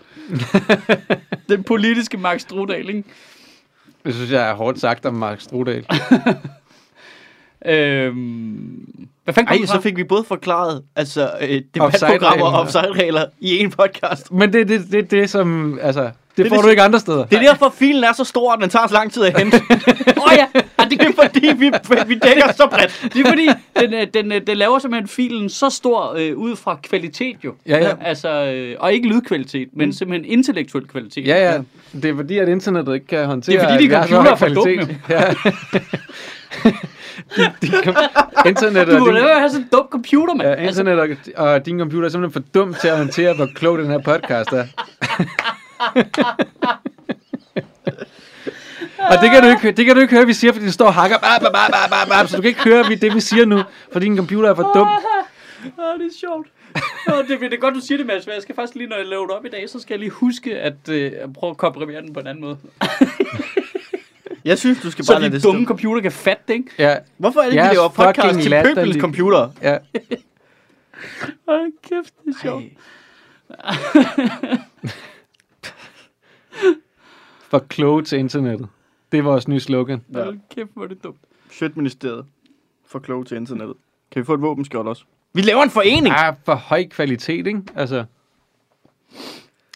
Speaker 1: den politiske Mark Strudal, ikke?
Speaker 2: Det synes jeg er hårdt sagt om Mark Strudal.
Speaker 1: Øhm, hvad fanden kom
Speaker 3: Ej,
Speaker 1: den
Speaker 3: så
Speaker 1: fra?
Speaker 3: fik vi både forklaret altså, øh,
Speaker 2: Offside-regler.
Speaker 3: debatprogrammer og offside-regler i en podcast.
Speaker 2: Men det er det, det, det, som... Altså, det,
Speaker 3: er
Speaker 2: får
Speaker 3: det-
Speaker 2: du ikke andre steder.
Speaker 3: Det er derfor, filen er så stor, at den tager så lang tid
Speaker 2: [laughs]
Speaker 3: at hente.
Speaker 1: Åh oh, ja, ah, det,
Speaker 3: Det er fordi, vi, vi dækker så bredt.
Speaker 1: det er fordi, [laughs] den, øh, den, øh, den laver simpelthen filen så stor øh, ud fra kvalitet jo.
Speaker 2: Ja, ja. Mm.
Speaker 1: Altså, øh, og ikke lydkvalitet, men simpelthen intellektuel kvalitet.
Speaker 2: Ja, ja. Det er fordi, at internettet ikke kan håndtere...
Speaker 1: Det er fordi, de
Speaker 2: at vi har så
Speaker 1: computere
Speaker 2: høj
Speaker 1: er for dumme,
Speaker 2: kvalitet. Ja.
Speaker 1: [laughs]
Speaker 2: de, de kom, internettet
Speaker 1: Du
Speaker 2: og
Speaker 1: må
Speaker 2: din,
Speaker 1: da have sådan en dum computer, mand. Altså,
Speaker 2: ja, internet og, og din computer er simpelthen for dum til at håndtere, hvor klog den her
Speaker 1: [laughs]
Speaker 2: podcast er. og det kan, du ikke, det kan du ikke høre, vi siger, fordi den står og hakker. Bap, bap, bap, bap, bap, bap, så du kan ikke høre vi- det, vi siger nu, fordi din computer er for dum.
Speaker 1: [laughs] Åh, det er sjovt. Åh, det, det er godt, du siger det, Mads, men jeg skal faktisk lige, når jeg laver det op i dag, så skal jeg lige huske at øh, prøve at komprimere den på en anden måde.
Speaker 3: Jeg synes, du skal bare
Speaker 1: Så
Speaker 3: lade
Speaker 1: de
Speaker 3: det stå.
Speaker 1: dumme computer kan fatte det, ikke?
Speaker 2: Ja,
Speaker 3: Hvorfor er det, ikke,
Speaker 2: Jeg
Speaker 3: vi
Speaker 2: er
Speaker 3: laver podcast
Speaker 2: fucking
Speaker 3: til
Speaker 2: latterlig.
Speaker 3: pøbelens computer?
Speaker 2: ja.
Speaker 1: Åh, kæft, det er sjovt.
Speaker 2: For kloge til internettet. Det er vores nye slogan.
Speaker 3: Ja.
Speaker 1: Hold kæft, hvor er det dumt.
Speaker 3: Sjøtministeriet for klog til internettet. Kan vi få et våbenskjold også? Vi laver en forening!
Speaker 2: Ah, for høj kvalitet, ikke? Altså.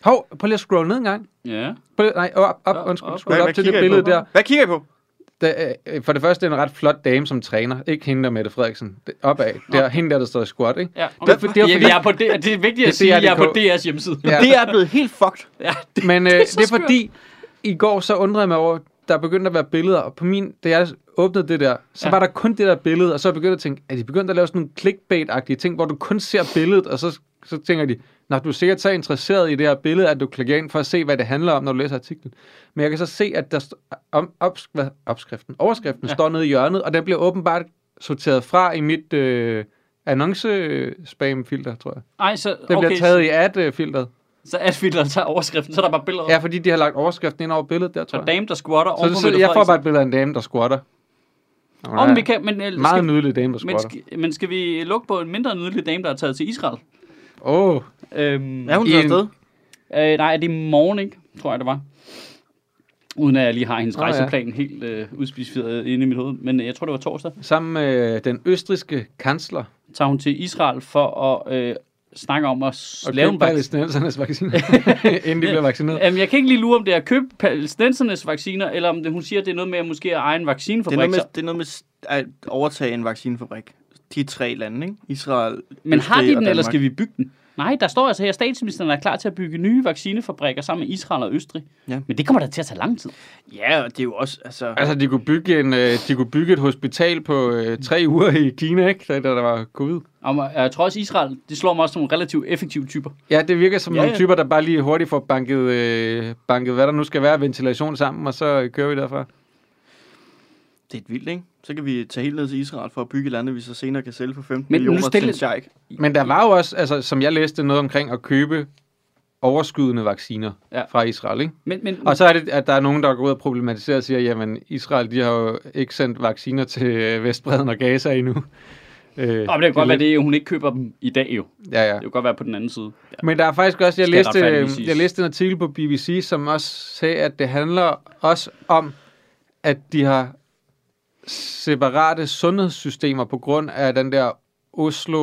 Speaker 2: Hov, prøv lige at scroll ned en gang.
Speaker 1: Ja.
Speaker 2: Prøv, lige- nej, op, op,
Speaker 1: Op,
Speaker 2: undskyld,
Speaker 1: op.
Speaker 2: scroll op, til det
Speaker 3: kigger I
Speaker 2: billede
Speaker 3: på?
Speaker 2: der.
Speaker 3: Hvad kigger I på?
Speaker 2: der øh, for det første er det en ret flot dame som træner. Ikke hende der, Mette Frederiksen. Det, opad. Det er hende der, der står i squat, ikke?
Speaker 1: Ja,
Speaker 2: Det er for- det er
Speaker 1: ja,
Speaker 2: fordi-
Speaker 1: jeg er på det, det er vigtigt at
Speaker 2: Det er
Speaker 1: sige, at jeg er på
Speaker 2: DRDK.
Speaker 1: DR's hjemmeside.
Speaker 2: Ja.
Speaker 3: Det er blevet helt fucked.
Speaker 1: ja det,
Speaker 2: Men øh, det, er
Speaker 1: så
Speaker 2: det er
Speaker 1: skørt.
Speaker 2: fordi, i går så undrede jeg mig over, der begyndte at være billeder, og på min, da jeg åbnede det der, så
Speaker 1: Ja.
Speaker 2: ja. var der kun det der billede, og så begyndte jeg at tænke, er de begyndt at lave sådan nogle clickbait-agtige ting, hvor du kun ser billedet, og så, så tænker de, når du er sikkert så interesseret i det her billede, at du klikker ind for at se, hvad det handler om, når du læser artiklen. Men jeg kan så se, at der st- om, opsk- hvad, opskriften, overskriften ja. står nede i hjørnet, og den bliver åbenbart sorteret fra i mit øh, annonce-spam-filter, tror jeg.
Speaker 1: Ej, så,
Speaker 2: Den okay.
Speaker 1: okay,
Speaker 2: bliver taget i ad-filteret.
Speaker 1: så Asfilter tager overskriften, så er der bare billeder.
Speaker 2: Ja, fordi de har lagt overskriften ind over billedet der, tror
Speaker 1: Så
Speaker 2: jeg.
Speaker 1: dame, der squatter
Speaker 2: Så,
Speaker 1: oven på
Speaker 2: det, så
Speaker 1: Mette
Speaker 2: jeg får bare
Speaker 1: Frederiksen.
Speaker 2: et billede af en dame, der squatter. Hun
Speaker 1: Åh,
Speaker 2: er
Speaker 1: men vi kan, men, øh,
Speaker 2: meget
Speaker 1: skal,
Speaker 2: nydelig dame, der
Speaker 1: men,
Speaker 2: squatter.
Speaker 1: skal, men skal vi lukke på en mindre nydelig dame, der er taget til Israel?
Speaker 2: Åh, oh,
Speaker 1: Øhm,
Speaker 3: Er hun
Speaker 2: I
Speaker 3: taget
Speaker 2: en-
Speaker 3: afsted?
Speaker 1: Øh, nej, det er i morgen, ikke? Tror jeg, det var. Uden at jeg lige har hendes
Speaker 2: Nå,
Speaker 1: oh,
Speaker 2: ja.
Speaker 1: rejseplan ja. helt øh, udspecificeret inde i mit hoved. Men øh, jeg tror, det var torsdag.
Speaker 2: Sammen med den østriske kansler
Speaker 1: Tager hun til Israel for at øh, snakke om at s-
Speaker 2: og
Speaker 1: lave
Speaker 2: købe
Speaker 1: en vaccine.
Speaker 2: palæstinensernes vacciner,
Speaker 1: [laughs]
Speaker 2: inden de bliver vaccineret.
Speaker 1: Jamen, jeg kan ikke lige lure, om det er at købe palæstinensernes vacciner, eller om det, hun siger, at det er noget med at måske at eje en
Speaker 3: Det er,
Speaker 1: vaccinefabrik.
Speaker 3: noget med,
Speaker 1: så-
Speaker 3: det er noget med s- at overtage en vaccinefabrik. De tre lande, ikke? Israel,
Speaker 1: Men har de
Speaker 3: Østrig og
Speaker 1: den, eller
Speaker 3: Danmark.
Speaker 1: skal vi bygge den? Nej, der står altså her, at statsministeren er klar til at bygge nye vaccinefabrikker sammen med Israel og Østrig.
Speaker 3: Ja.
Speaker 1: Men det kommer da til at tage lang tid.
Speaker 3: Ja, og det er jo også, altså...
Speaker 2: Altså, de kunne bygge, en, øh, de kunne bygge et hospital på øh, tre uger i Kina, ikke? Da, da der var covid.
Speaker 1: Og man- jeg tror også, Israel, det slår mig også som relativt effektive typer.
Speaker 2: Ja, det virker som
Speaker 1: Ja,
Speaker 2: ja, nogle
Speaker 1: ja.
Speaker 2: typer, der bare lige hurtigt får banket, øh, banket, hvad der nu skal være, ventilation sammen, og så kører vi derfra.
Speaker 3: Det er et vildt, ikke? Så kan vi tage helt ned til Israel for at bygge et lande, vi så senere kan sælge for 15
Speaker 1: Men nu
Speaker 3: millioner til
Speaker 1: stille-
Speaker 3: en sheik.
Speaker 2: Men der var jo også, altså, som jeg læste, noget omkring at købe overskydende vacciner
Speaker 1: Ja.
Speaker 2: ja. fra Israel, ikke?
Speaker 1: Men, men,
Speaker 2: Mm. Og så er det, at der er nogen, der går ud og problematiserer og siger, jamen Israel, de har jo ikke sendt vacciner til øh, Vestbreden og Gaza endnu. Øh, oh,
Speaker 1: og det kan godt være, det er, hun ikke køber dem i dag jo.
Speaker 2: Ja, ja.
Speaker 1: Det kan godt være på den anden side.
Speaker 2: Men der er faktisk også, jeg
Speaker 1: Skal
Speaker 2: læste, øh,
Speaker 1: retfærdigvis siges.
Speaker 2: jeg læste en artikel på BBC, som også sagde, at det handler også om, at de har separate sundhedssystemer på grund af den der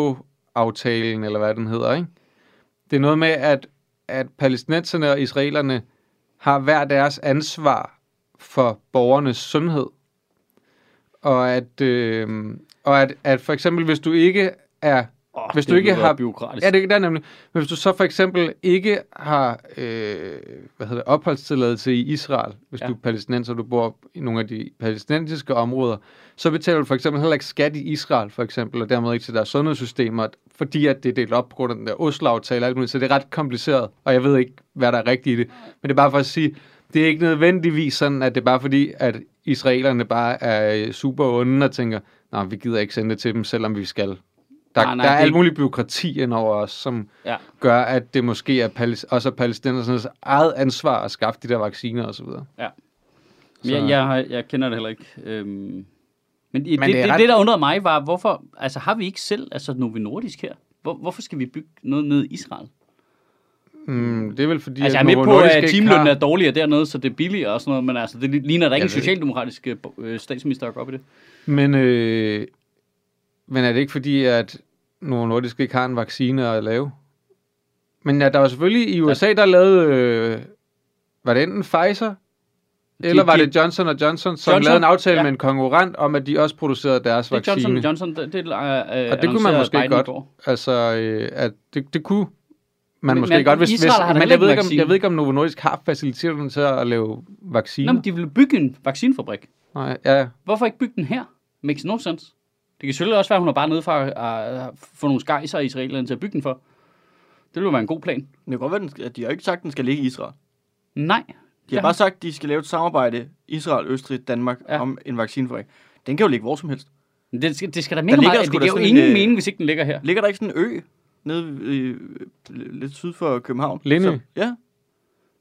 Speaker 2: Oslo-aftalen, eller hvad den hedder, ikke? Det er noget med, at, at palæstinenserne og israelerne har hver deres ansvar for borgernes sundhed. Og at, øh, og at, at for eksempel, hvis du ikke er
Speaker 1: Oh,
Speaker 2: Hvis du ikke har-
Speaker 1: Byråkratisk.
Speaker 2: Ja, det det er nemlig. Men hvis du så for eksempel ikke har øh, hvad hedder det, opholdstilladelse i Israel, hvis
Speaker 1: Ja.
Speaker 2: ja. du er palæstinenser, og du bor i nogle af de palæstinensiske områder, så betaler du for eksempel heller ikke skat i Israel, for eksempel, og dermed ikke til deres sundhedssystemer, fordi at det er delt op på grund af den der Oslo-aftale og alt muligt, så det er ret kompliceret, og jeg ved ikke, hvad der er rigtigt i det. Men det er bare for at sige, det er ikke nødvendigvis sådan, at det er bare fordi, at israelerne bare er øh, super onde og tænker, nej, vi gider ikke sende det til dem, selvom vi skal. Der,
Speaker 1: Nej,
Speaker 2: nej,
Speaker 1: nej,
Speaker 2: nej, der er
Speaker 1: det-
Speaker 2: alt muligt byråkrati ind over os, som
Speaker 1: Ja.
Speaker 2: gør, at det måske er palæs- også er palæstinensernes eget ansvar at skaffe de der vacciner osv.
Speaker 1: Men jeg, jeg, har- jeg kender det heller ikke. Øhm, men det,
Speaker 2: Men
Speaker 1: det,
Speaker 2: det er
Speaker 1: det,
Speaker 2: ret-
Speaker 1: det, der undrede mig, var, hvorfor altså, har vi ikke selv altså, Novo Nordisk her? Hvor, hvorfor skal vi bygge noget ned i Israel?
Speaker 2: Mm, det er vel fordi,
Speaker 1: Altså, jeg er
Speaker 2: at
Speaker 1: med
Speaker 2: Novo
Speaker 1: på,
Speaker 2: Nordisk
Speaker 1: at
Speaker 2: ikke
Speaker 1: timelønnen
Speaker 2: har-
Speaker 1: er dårligere dernede, så det er billigere og sådan noget, men altså, det ligner da ikke
Speaker 2: Jeg
Speaker 1: en
Speaker 2: ved ikke.
Speaker 1: socialdemokratisk øh, bo- øh, statsminister at gå op i det.
Speaker 2: Men, øh, men er det ikke fordi, at Novo Nordisk ikke har en vaccine at lave? Men ja, der var selvfølgelig i USA, der lavede... Øh, var det enten Pfizer, eller
Speaker 1: de-
Speaker 2: var det Johnson Johnson, som
Speaker 1: Johnson,
Speaker 2: lavede en aftale
Speaker 1: ja.
Speaker 2: med en konkurrent om, at de også producerede deres
Speaker 1: Det er Johnson
Speaker 2: vaccine?
Speaker 1: Johnson, det, det, øh, og
Speaker 2: det kunne man måske godt. Altså, øh, at det, det kunne man
Speaker 1: Men-
Speaker 2: måske
Speaker 1: men
Speaker 2: godt, hvis...
Speaker 1: Israel
Speaker 2: hvis
Speaker 1: har da
Speaker 2: men
Speaker 1: heller
Speaker 2: jeg ved,
Speaker 1: ikke
Speaker 2: ikke, om,
Speaker 1: vaccine.
Speaker 2: jeg ved ikke, om Novo Nordisk har faciliteterne til at lave vacciner.
Speaker 1: Nå, men de ville bygge en vaccinefabrik.
Speaker 2: Nej, ja,
Speaker 1: Hvorfor ikke bygge den her? Makes no sense. Det kan selvfølgelig også være, at hun er bare nede for at uh, få nogle skejser i israelerne til at bygge den for. Det ville jo være en god plan.
Speaker 3: Det kan godt være, den skal, de har jo ikke sagt, den skal ligge i Israel.
Speaker 1: Nej.
Speaker 3: De har bare sagt, at de skal lave et samarbejde, Israel, Østrig, Danmark,
Speaker 1: Ja.
Speaker 3: ja. om en vaccinefabrik. Den kan jo ligge hvor som helst.
Speaker 1: Men Det skal, det skal da mega
Speaker 3: ligger
Speaker 1: meget.
Speaker 3: sgu
Speaker 1: Det
Speaker 3: da
Speaker 1: giver jo
Speaker 3: sådan
Speaker 1: ingen
Speaker 3: en, øh,
Speaker 1: mening, hvis ikke den ligger her.
Speaker 3: Ligger der ikke sådan en ø nede øh, lidt syd for København?
Speaker 2: Lindø.
Speaker 3: Som- Ja.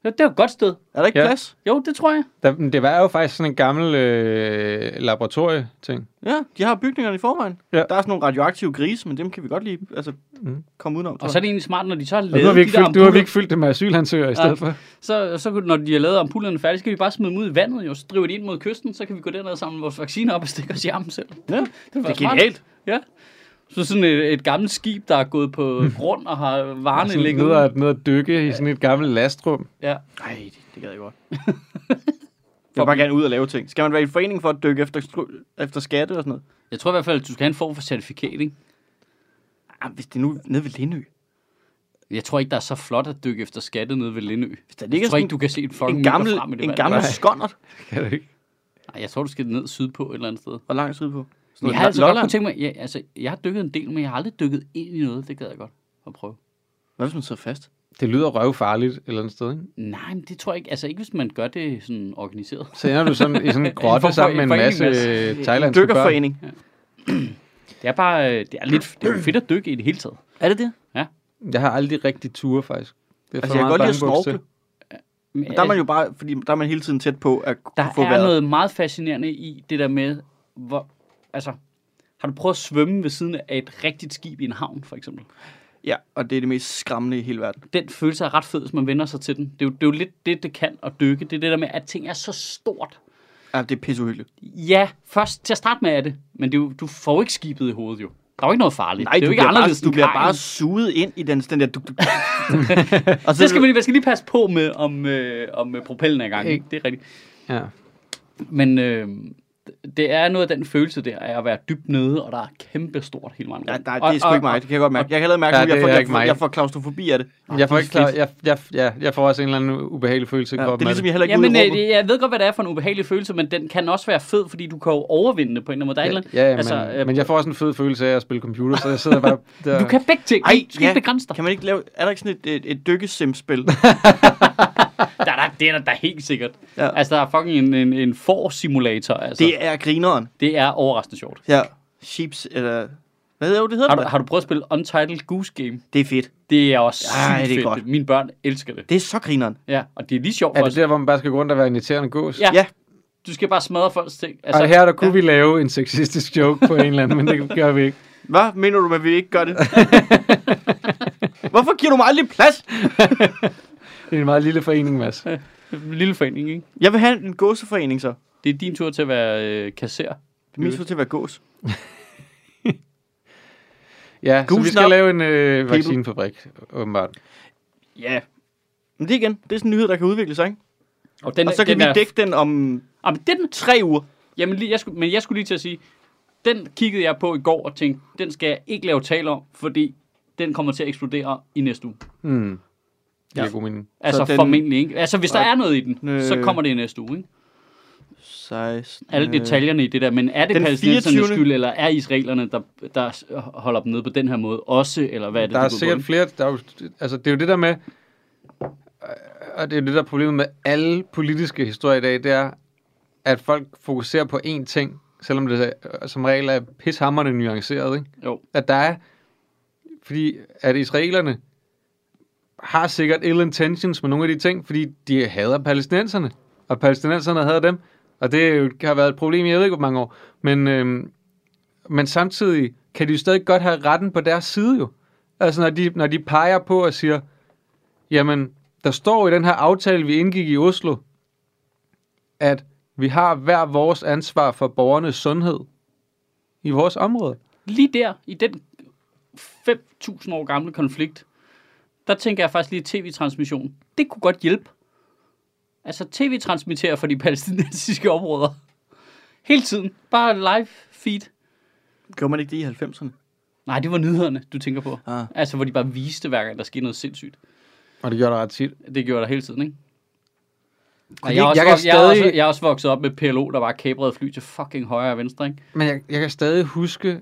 Speaker 1: Ja, det er jo et godt sted.
Speaker 3: Er der ikke ja.
Speaker 2: Ja.
Speaker 3: plads?
Speaker 1: Jo, det tror jeg.
Speaker 2: Der, men det var jo faktisk sådan en gammel øh, laboratorieting.
Speaker 3: Ja, de har bygningerne i forvejen.
Speaker 2: Ja.
Speaker 3: Ja. Der er sådan nogle radioaktive grise, men dem kan vi godt lige altså,
Speaker 2: Mhm.
Speaker 3: mm. komme udenom. tror
Speaker 1: Og
Speaker 3: jeg.
Speaker 1: så er det egentlig smart, når de så har
Speaker 2: Og nu har
Speaker 1: lavet
Speaker 2: vi
Speaker 1: de
Speaker 2: ikke,
Speaker 1: der
Speaker 2: fyldt, nu har vi
Speaker 1: ampuller,
Speaker 2: ikke fyldt det med asylansøgere i
Speaker 1: Nej.
Speaker 2: stedet for.
Speaker 1: så, så kunne- når de har lavet ampullerne færdige, så kan vi bare smide dem ud i vandet, jo, så driver de ind mod kysten, så kan vi gå derned og samle vores vacciner op og stikke os i armen selv.
Speaker 3: Ja,
Speaker 1: det,
Speaker 3: det er genialt.
Speaker 1: Ja. Så sådan et, et gammelt skib, der er gået
Speaker 3: [laughs]
Speaker 1: på grund og har varerne
Speaker 2: Sådan
Speaker 1: ligget
Speaker 2: Altså, ned
Speaker 1: ud.
Speaker 2: at, ned at dykke i sådan et gammelt lastrum.
Speaker 1: Ja.
Speaker 3: Nej, det, det gad
Speaker 1: [laughs]
Speaker 3: jeg godt. jeg vil bare gerne ud og lave ting. Skal man være i en forening for at dykke efter, skru- efter skatte og sådan noget?
Speaker 1: Jeg tror i hvert fald, at du skal have en form for certifikat, ikke?
Speaker 3: Ah, hvis det er nu nede ved Lindø.
Speaker 1: Jeg tror ikke, der er så flot at dykke efter skatte nede ved Lindø.
Speaker 3: Hvis der
Speaker 1: Jeg
Speaker 3: ligger
Speaker 1: tror
Speaker 3: sådan
Speaker 1: ikke, du kan se en fucking
Speaker 3: en
Speaker 1: meter
Speaker 3: gammel,
Speaker 1: frem i det
Speaker 3: en
Speaker 1: vand.
Speaker 3: gammel
Speaker 2: Nej.
Speaker 3: skåndert.
Speaker 2: Kan det ikke?
Speaker 1: Nej, jeg tror, du skal ned sydpå et eller andet sted.
Speaker 3: Hvor langt sydpå? Sådan
Speaker 1: Men
Speaker 3: noget
Speaker 1: jeg har altså godt
Speaker 3: Lolland.
Speaker 1: kunne tænke mig, ja, altså, jeg har dykket en del, men jeg har aldrig dykket ind i noget. Det gad jeg godt at prøve.
Speaker 3: Hvad hvis man sidder fast?
Speaker 2: Det lyder røvfarligt et eller andet sted, ikke?
Speaker 1: Nej, men det tror jeg ikke. Altså ikke, hvis man gør det sådan organiseret.
Speaker 2: Så ender du sådan, i sådan en
Speaker 1: En form for-
Speaker 2: grotte sammen med en
Speaker 1: en
Speaker 2: masse
Speaker 1: forening,
Speaker 2: øh, thailandske børn.
Speaker 3: Dykkerforening.
Speaker 1: Det er bare, øh, det er lidt det er jo fedt at dykke i det hele taget.
Speaker 3: Er det det?
Speaker 2: Jeg har aldrig rigtig ture, faktisk. Det er for
Speaker 3: Altså, jeg kan
Speaker 2: meget
Speaker 3: godt lide at
Speaker 2: bangebuks til.
Speaker 3: snorkle.
Speaker 1: Men,
Speaker 3: Men der er man jo bare, fordi der er man hele tiden tæt på at
Speaker 1: Øh, der
Speaker 3: få
Speaker 1: er
Speaker 3: vejret.
Speaker 1: noget meget fascinerende i det der med, hvor, altså, har du prøvet at svømme ved siden af et rigtigt skib i en havn, for eksempel?
Speaker 3: Ja, og det er det mest skræmmende i hele verden.
Speaker 1: den følelse er ret fed, hvis man vender sig til den. Det er jo, det er jo lidt det, det kan at dykke. Det er det der med, at ting er så stort.
Speaker 3: Ja, det er pisseuhyggeligt.
Speaker 1: Ja, først til at starte med er det, men det er jo, du får jo ikke skibet i hovedet jo. Der er jo ikke noget farligt.
Speaker 3: Nej,
Speaker 1: det er jo
Speaker 3: du
Speaker 1: ikke
Speaker 3: bliver
Speaker 1: anderledes
Speaker 3: bare, du
Speaker 1: end
Speaker 3: bliver
Speaker 1: kajen.
Speaker 3: bare suget ind i den, den der... Du, du,
Speaker 1: [laughs]
Speaker 3: og så,
Speaker 1: Det skal man, lige- man skal lige passe på med, om, øh, om øh, propellen er i gang.
Speaker 2: Ikke.
Speaker 1: Ikke? Det er rigtigt.
Speaker 2: Ja.
Speaker 1: Men øh, det er noget af den følelse der, af at være dybt nede, og der er kæmpestort hele vejen rundt.
Speaker 3: Ja, nej, det er sgu ikke mig. Det kan jeg godt mærke. Jeg kan heller mærke,
Speaker 2: Ja,
Speaker 3: at jeg,
Speaker 2: det
Speaker 3: får,
Speaker 2: er
Speaker 3: jeg,
Speaker 2: ikke
Speaker 3: får,
Speaker 2: mig.
Speaker 3: jeg får klaustrofobi af det.
Speaker 2: Jeg
Speaker 1: det
Speaker 2: får
Speaker 1: er
Speaker 2: ikke klar,
Speaker 1: fedt.
Speaker 2: jeg, jeg, jeg, jeg får også en eller anden ubehagelig følelse i
Speaker 3: Ja, det er
Speaker 2: kroppen. af
Speaker 3: ligesom, jeg heller
Speaker 1: Ja,
Speaker 3: ikke ja,
Speaker 1: men
Speaker 3: ud i rummet.
Speaker 1: øh, jeg ved godt, hvad det er for en ubehagelig følelse, men den kan også være fed, fordi du kan jo overvinde det på en eller anden måde. Der er et eller andet-
Speaker 2: Ja, ja
Speaker 1: altså,
Speaker 2: men,
Speaker 1: øh,
Speaker 2: men jeg får også en fed følelse af at spille computer, så jeg sidder bare...
Speaker 1: [laughs]
Speaker 2: Der.
Speaker 1: Du kan begge ting. Ej, du skal ikke begrænse dig.
Speaker 3: Kan man ikke lave... Er der ikke sådan et, et,
Speaker 2: [laughs]
Speaker 3: et dykkesim-spil?
Speaker 1: Der, der, det er der, der er helt sikkert.
Speaker 3: Ja.
Speaker 1: Ja. Altså, der er fucking en, en, en for-simulator. Altså. Det, er...
Speaker 3: det er grineren.
Speaker 1: det er overraskende sjovt.
Speaker 3: Ja. Sheeps, eller... Hvad hedder det? det
Speaker 1: Har
Speaker 3: hedder
Speaker 1: du,
Speaker 3: det?
Speaker 1: har du prøvet at spille Untitled Goose Game?
Speaker 3: Det er fedt.
Speaker 1: Det er også
Speaker 3: Ej,
Speaker 1: sygt
Speaker 3: det er
Speaker 1: fedt.
Speaker 3: godt.
Speaker 1: Mine børn elsker det.
Speaker 3: Det er så grineren.
Speaker 1: Ja, og det er lige sjovt
Speaker 2: Er det
Speaker 1: også.
Speaker 2: der, hvor man bare skal gå rundt og være en irriterende gås?
Speaker 1: Ja.
Speaker 3: Ja,
Speaker 1: Du skal bare smadre folks ting.
Speaker 2: Altså,
Speaker 1: Altså,
Speaker 2: og her der kunne ja. vi lave en sexistisk joke på en eller anden, men det gør vi ikke.
Speaker 3: Hvad mener du, at vi ikke [laughs] gør det? Hvorfor giver du mig aldrig plads?
Speaker 2: Det er en meget lille forening, Mads.
Speaker 1: Lille forening, ikke?
Speaker 3: Jeg vil have en gåseforening, så.
Speaker 1: Det er din tur til at være øh, kasser.
Speaker 3: Min tur til at være gås.
Speaker 2: Ja, så vi
Speaker 3: Goosen
Speaker 2: skal
Speaker 3: up.
Speaker 2: lave en øh, vaccinefabrik, åbenbart.
Speaker 3: Ja. Men det er igen, det er sådan en nyhed, der kan udvikle sig, ikke?
Speaker 1: Og, den,
Speaker 3: Og så kan
Speaker 1: den
Speaker 3: vi
Speaker 1: er-
Speaker 3: dække den om
Speaker 1: Ah, men den,
Speaker 3: tre uger.
Speaker 1: jamen, lige, jeg skulle, men jeg skulle lige til at sige, den kiggede jeg på i går og tænkte, den skal jeg ikke lave tale om, fordi den kommer til at eksplodere i næste uge.
Speaker 2: Mm. Det er
Speaker 1: Ja.
Speaker 2: god mening.
Speaker 1: Altså
Speaker 3: den-
Speaker 1: den... formentlig, ikke? Altså hvis der
Speaker 3: Og-
Speaker 1: er noget i den,
Speaker 3: Øh.
Speaker 1: øh... så kommer det i næste uge, ikke?
Speaker 3: 16.
Speaker 1: Alle detaljerne i det der, men er det
Speaker 3: Øh. den
Speaker 1: palæstinensernes
Speaker 3: 24..
Speaker 1: skyld, eller er israelerne, der, der s- holder dem nede på den her måde også, eller hvad er det,
Speaker 2: Der
Speaker 1: du
Speaker 2: er
Speaker 1: går
Speaker 2: sikkert
Speaker 1: på?
Speaker 2: flere... Der er jo, altså, det er jo det der med... Og det er jo det der er problemet med alle politiske historier i dag, det er, at folk fokuserer på én ting, selvom det øh, som regel er pishammerende nuanceret, ikke?
Speaker 1: Jo,
Speaker 2: at der er, fordi at israelerne har sikkert ill intentions med nogle af de ting, fordi de hader palæstinenserne, og palæstinenserne hader dem, og det er jo- har været et problem i jeg ved ikke hvor mange år, men, øhm, men samtidig kan de jo stadig godt have retten på deres side jo. Altså når de, når de peger på og siger, jamen der står i den her aftale, vi indgik i Oslo, at vi har hver vores ansvar for borgernes sundhed i vores område.
Speaker 1: lige der, i den 5.000 år gamle konflikt, der tænker jeg faktisk lige tv-transmission. Det kunne godt hjælpe. Altså tv-transmittere for de [laughs] palæstinensiske områder. Hele tiden. Bare live feed.
Speaker 3: Gjorde man ikke det i 90'erne?
Speaker 1: Nej, det var nyhederne, du tænker på.
Speaker 3: Ah.
Speaker 1: Altså, hvor de bare viste hver gang, der skete noget sindssygt.
Speaker 2: Og det gjorde der ret tit.
Speaker 1: Det gjorde der hele tiden, ikke? Og
Speaker 2: Fordi
Speaker 1: jeg, er også,
Speaker 2: jeg kan
Speaker 1: vok- jeg, er også,
Speaker 2: stadig-
Speaker 1: jeg er også vokset op med PLO, der bare kæbrede fly til fucking højre og venstre, ikke?
Speaker 2: Men jeg, jeg kan stadig huske,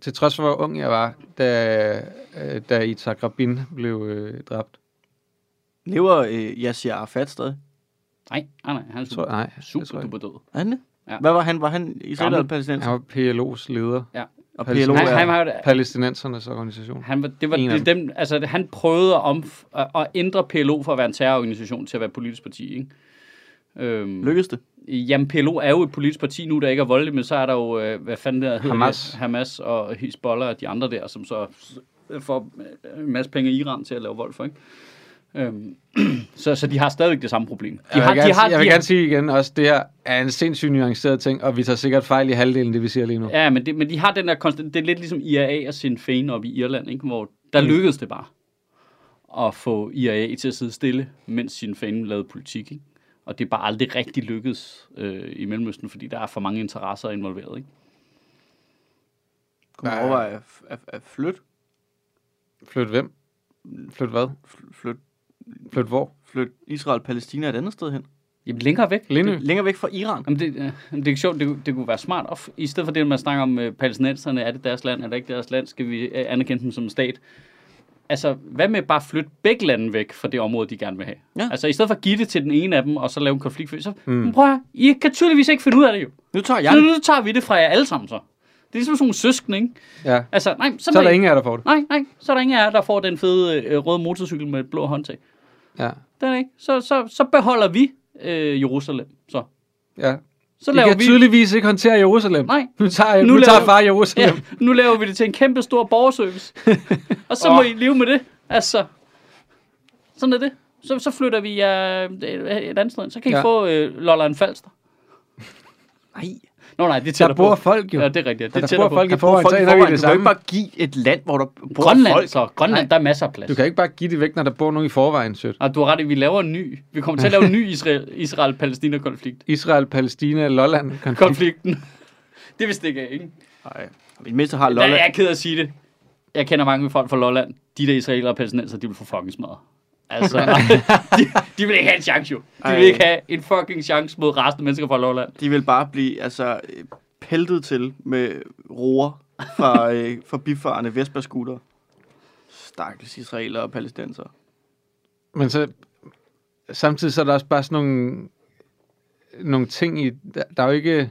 Speaker 2: til trods for hvor ung jeg var, da, øh, da Itzhak Rabin blev øh, dræbt.
Speaker 3: Lever øh, Yasser Arafat stadig?
Speaker 1: Nej, nej, nej. Han er
Speaker 2: Jeg tror,
Speaker 1: super,
Speaker 2: nej, jeg tror
Speaker 1: super
Speaker 2: ikke.
Speaker 1: duper død.
Speaker 3: Er han det?
Speaker 1: Ja.
Speaker 3: Hvad var han? Var han israeler
Speaker 1: Gammel.
Speaker 3: eller palæstinenser?
Speaker 2: Han var PLO's leder.
Speaker 3: Og
Speaker 2: palæstinenser.
Speaker 3: PLO
Speaker 1: Han, han,
Speaker 3: er...
Speaker 1: var,
Speaker 2: Palæstinensernes organisation.
Speaker 1: han, var, det var,
Speaker 2: En af
Speaker 1: det, dem, altså, han prøvede at, om, at, at ændre PLO fra at være en terrororganisation til at være et politisk parti, ikke? Øhm,
Speaker 3: Lykkedes det?
Speaker 1: Jamen, PLO er jo et politisk parti nu, der ikke er voldeligt, men så er der jo, øh, hvad fanden der hedder
Speaker 2: Hamas.
Speaker 1: det? Hamas og Hezbollah og de andre der, som så får øh, en masse penge i Iran til at lave vold for, ikke? Øhm, [clears throat] så, så de har stadigvæk det samme problem. De
Speaker 2: Jeg
Speaker 1: har,
Speaker 2: vil, gerne,
Speaker 1: de har,
Speaker 2: jeg vil
Speaker 1: de
Speaker 2: gerne sige igen også, det her er en sindssygt nuanceret ting, og vi tager sikkert fejl i halvdelen, det vi siger lige nu.
Speaker 1: har, ja, men, det, men de har den der konstant, det er lidt ligesom IRA og Sinn Féin op i Irland, ikke? hvor der lykkedes det bare at få IRA til at sidde stille, mens Sinn Féin lavede politik. Ikke? Og det er bare aldrig rigtig lykkedes øh, i Mellemøsten, fordi der er for mange interesser involveret. Ikke?
Speaker 3: Kunne man
Speaker 2: Nej.
Speaker 3: overveje at, at, at flytte?
Speaker 2: Flyt hvem? Flyt hvad?
Speaker 3: Fl- Flytte
Speaker 2: Flyt hvor?
Speaker 3: flyt Israel og Palæstina et andet sted hen?
Speaker 1: Jamen, længere væk.
Speaker 2: Lindø?
Speaker 3: Længere væk fra Iran?
Speaker 1: Jamen det, øh, jamen det er ikke sjovt, det, kunne- det kunne være smart. Og f- I stedet for det, man snakker om øh, palæstinenserne, er det deres land, er det ikke deres land, skal vi øh, anerkende dem som en stat. Altså, hvad med bare at flytte begge lande væk fra det område, de gerne vil have?
Speaker 3: Ja.
Speaker 1: Altså, i stedet for at give det til den ene af dem, og så lave en konflikt, så mm. men prøv at høre, I kan tydeligvis ikke finde ud af det jo.
Speaker 3: Nu tager jeg
Speaker 1: Så nu,
Speaker 3: det.
Speaker 1: nu tager vi det fra jer alle sammen så. Det er ligesom sådan nogle søskende, ikke?
Speaker 2: Ja.
Speaker 1: Altså, nej, så,
Speaker 2: Så er
Speaker 1: må
Speaker 2: der
Speaker 1: I-
Speaker 2: ingen af jer, der får det.
Speaker 1: Nej, nej, så er der ingen af jer, der får den fede øh, røde motorcykel med et blå håndtag.
Speaker 2: Ja.
Speaker 1: Den er ikke. Så, så, så beholder vi øh, Jerusalem, så.
Speaker 2: ja.
Speaker 1: Så
Speaker 2: De
Speaker 1: laver
Speaker 2: kan
Speaker 1: vi...
Speaker 2: tydeligvis ikke håndtere Jerusalem.
Speaker 1: Nej.
Speaker 2: Nu tager, jeg,
Speaker 1: Nu
Speaker 2: nu nu tager
Speaker 1: laver-
Speaker 2: far Jerusalem.
Speaker 1: Ja, nu laver vi det til en kæmpe stor
Speaker 2: [laughs]
Speaker 1: borgerservice. og så må I leve med det. Altså, sådan er det. Så, så flytter vi øh, et andet sted. hen. Så kan I
Speaker 2: Ja.
Speaker 1: ja. få øh, Lolland Falster.
Speaker 3: Nej.
Speaker 1: Nå nej, det er
Speaker 2: Der
Speaker 1: tættere
Speaker 2: bor
Speaker 1: på.
Speaker 2: folk jo.
Speaker 1: Ja, det er rigtigt. Det er
Speaker 2: Der, der
Speaker 1: tættere
Speaker 2: bor
Speaker 1: på.
Speaker 2: folk i
Speaker 3: Bor
Speaker 2: forvejen,
Speaker 3: folk
Speaker 2: så
Speaker 3: i
Speaker 2: ender vi i
Speaker 3: forvejen.
Speaker 2: det
Speaker 3: Du kan
Speaker 2: samme.
Speaker 3: ikke bare give et land, hvor der bor
Speaker 1: Grønland,
Speaker 3: folk.
Speaker 1: så. Grønland,
Speaker 3: Nej.
Speaker 1: der er masser af plads.
Speaker 2: Du kan ikke bare give det væk, når der bor nogen i forvejen, sødt.
Speaker 1: Og du har ret i, vi laver en ny. Vi kommer til at lave en ny Israel-
Speaker 2: [laughs]
Speaker 1: Israel-Palæstina-konflikt.
Speaker 2: Israel, Palæstina, Lolland. konflikt.
Speaker 1: Konflikten. Det vil stikke af, ikke?
Speaker 3: Nej. Min mindste har
Speaker 1: Lolland. Jeg
Speaker 3: Lolland.
Speaker 1: er ked af at sige det. Jeg kender mange folk fra Lolland. De der israelere og palæstinenser, de vil få fucking smadret. Altså, de, de vil ikke have en chance jo. De
Speaker 3: Ej.
Speaker 1: vil ikke have en fucking chance mod resten af mennesker fra Lolland.
Speaker 3: De vil bare blive altså, øh, peltet til med roer fra, øh, fra bifarende Vespa-scooter. Stakkels israelere og palæstinenser.
Speaker 2: Men så, samtidig så er der også bare sådan nogle, nogle ting i... Der, der er jo ikke...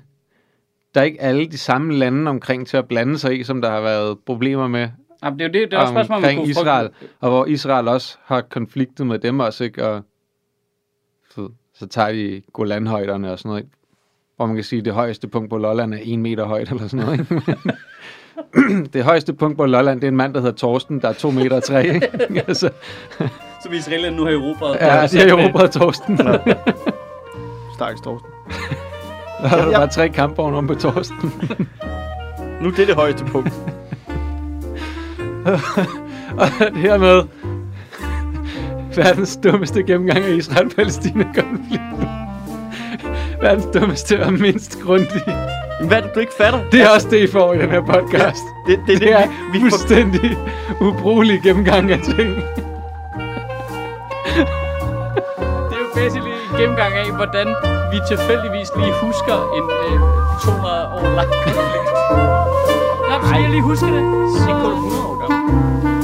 Speaker 2: Der er ikke alle de samme lande omkring til at blande sig i, som der har været problemer med
Speaker 1: Jamen, det er jo det, det er også et spørgsmål, om man
Speaker 2: omkring
Speaker 1: kunne
Speaker 2: Israel,
Speaker 1: frygte.
Speaker 2: og hvor Israel også har konfliktet med dem også, ikke? Og så, så tager de Golanhøjderne og sådan noget, ikke? Hvor man kan sige, at det højeste punkt på Lolland er en meter højt eller sådan noget, ikke? det højeste punkt på Lolland, det er en mand, der hedder Torsten, der er to meter og tre, ikke? altså,
Speaker 1: Som israelerne nu har erobret.
Speaker 2: ja, de har jo råbret Torsten.
Speaker 3: Stakkels Torsten.
Speaker 2: [laughs] Der er der bare tre kampvogne om på Torsten.
Speaker 3: Nu er det det højeste punkt.
Speaker 2: og [laughs] hermed verdens dummeste gennemgang af Israel-Palæstina-konflikten. verdens dummeste og mindst grundige.
Speaker 3: Men Hvad er det, du ikke fatter?
Speaker 2: Det er også det, I får i den her podcast.
Speaker 3: Det, det, det,
Speaker 2: Det er
Speaker 3: vi, vi får,
Speaker 2: fuldstændig ubrugelig gennemgang af ting.
Speaker 1: Det er jo basically en gennemgang af, hvordan vi tilfældigvis lige husker en øh, 200 år lang konflikt. Nå, skal jeg lige huske det? Så...
Speaker 3: kun 100 år gammel.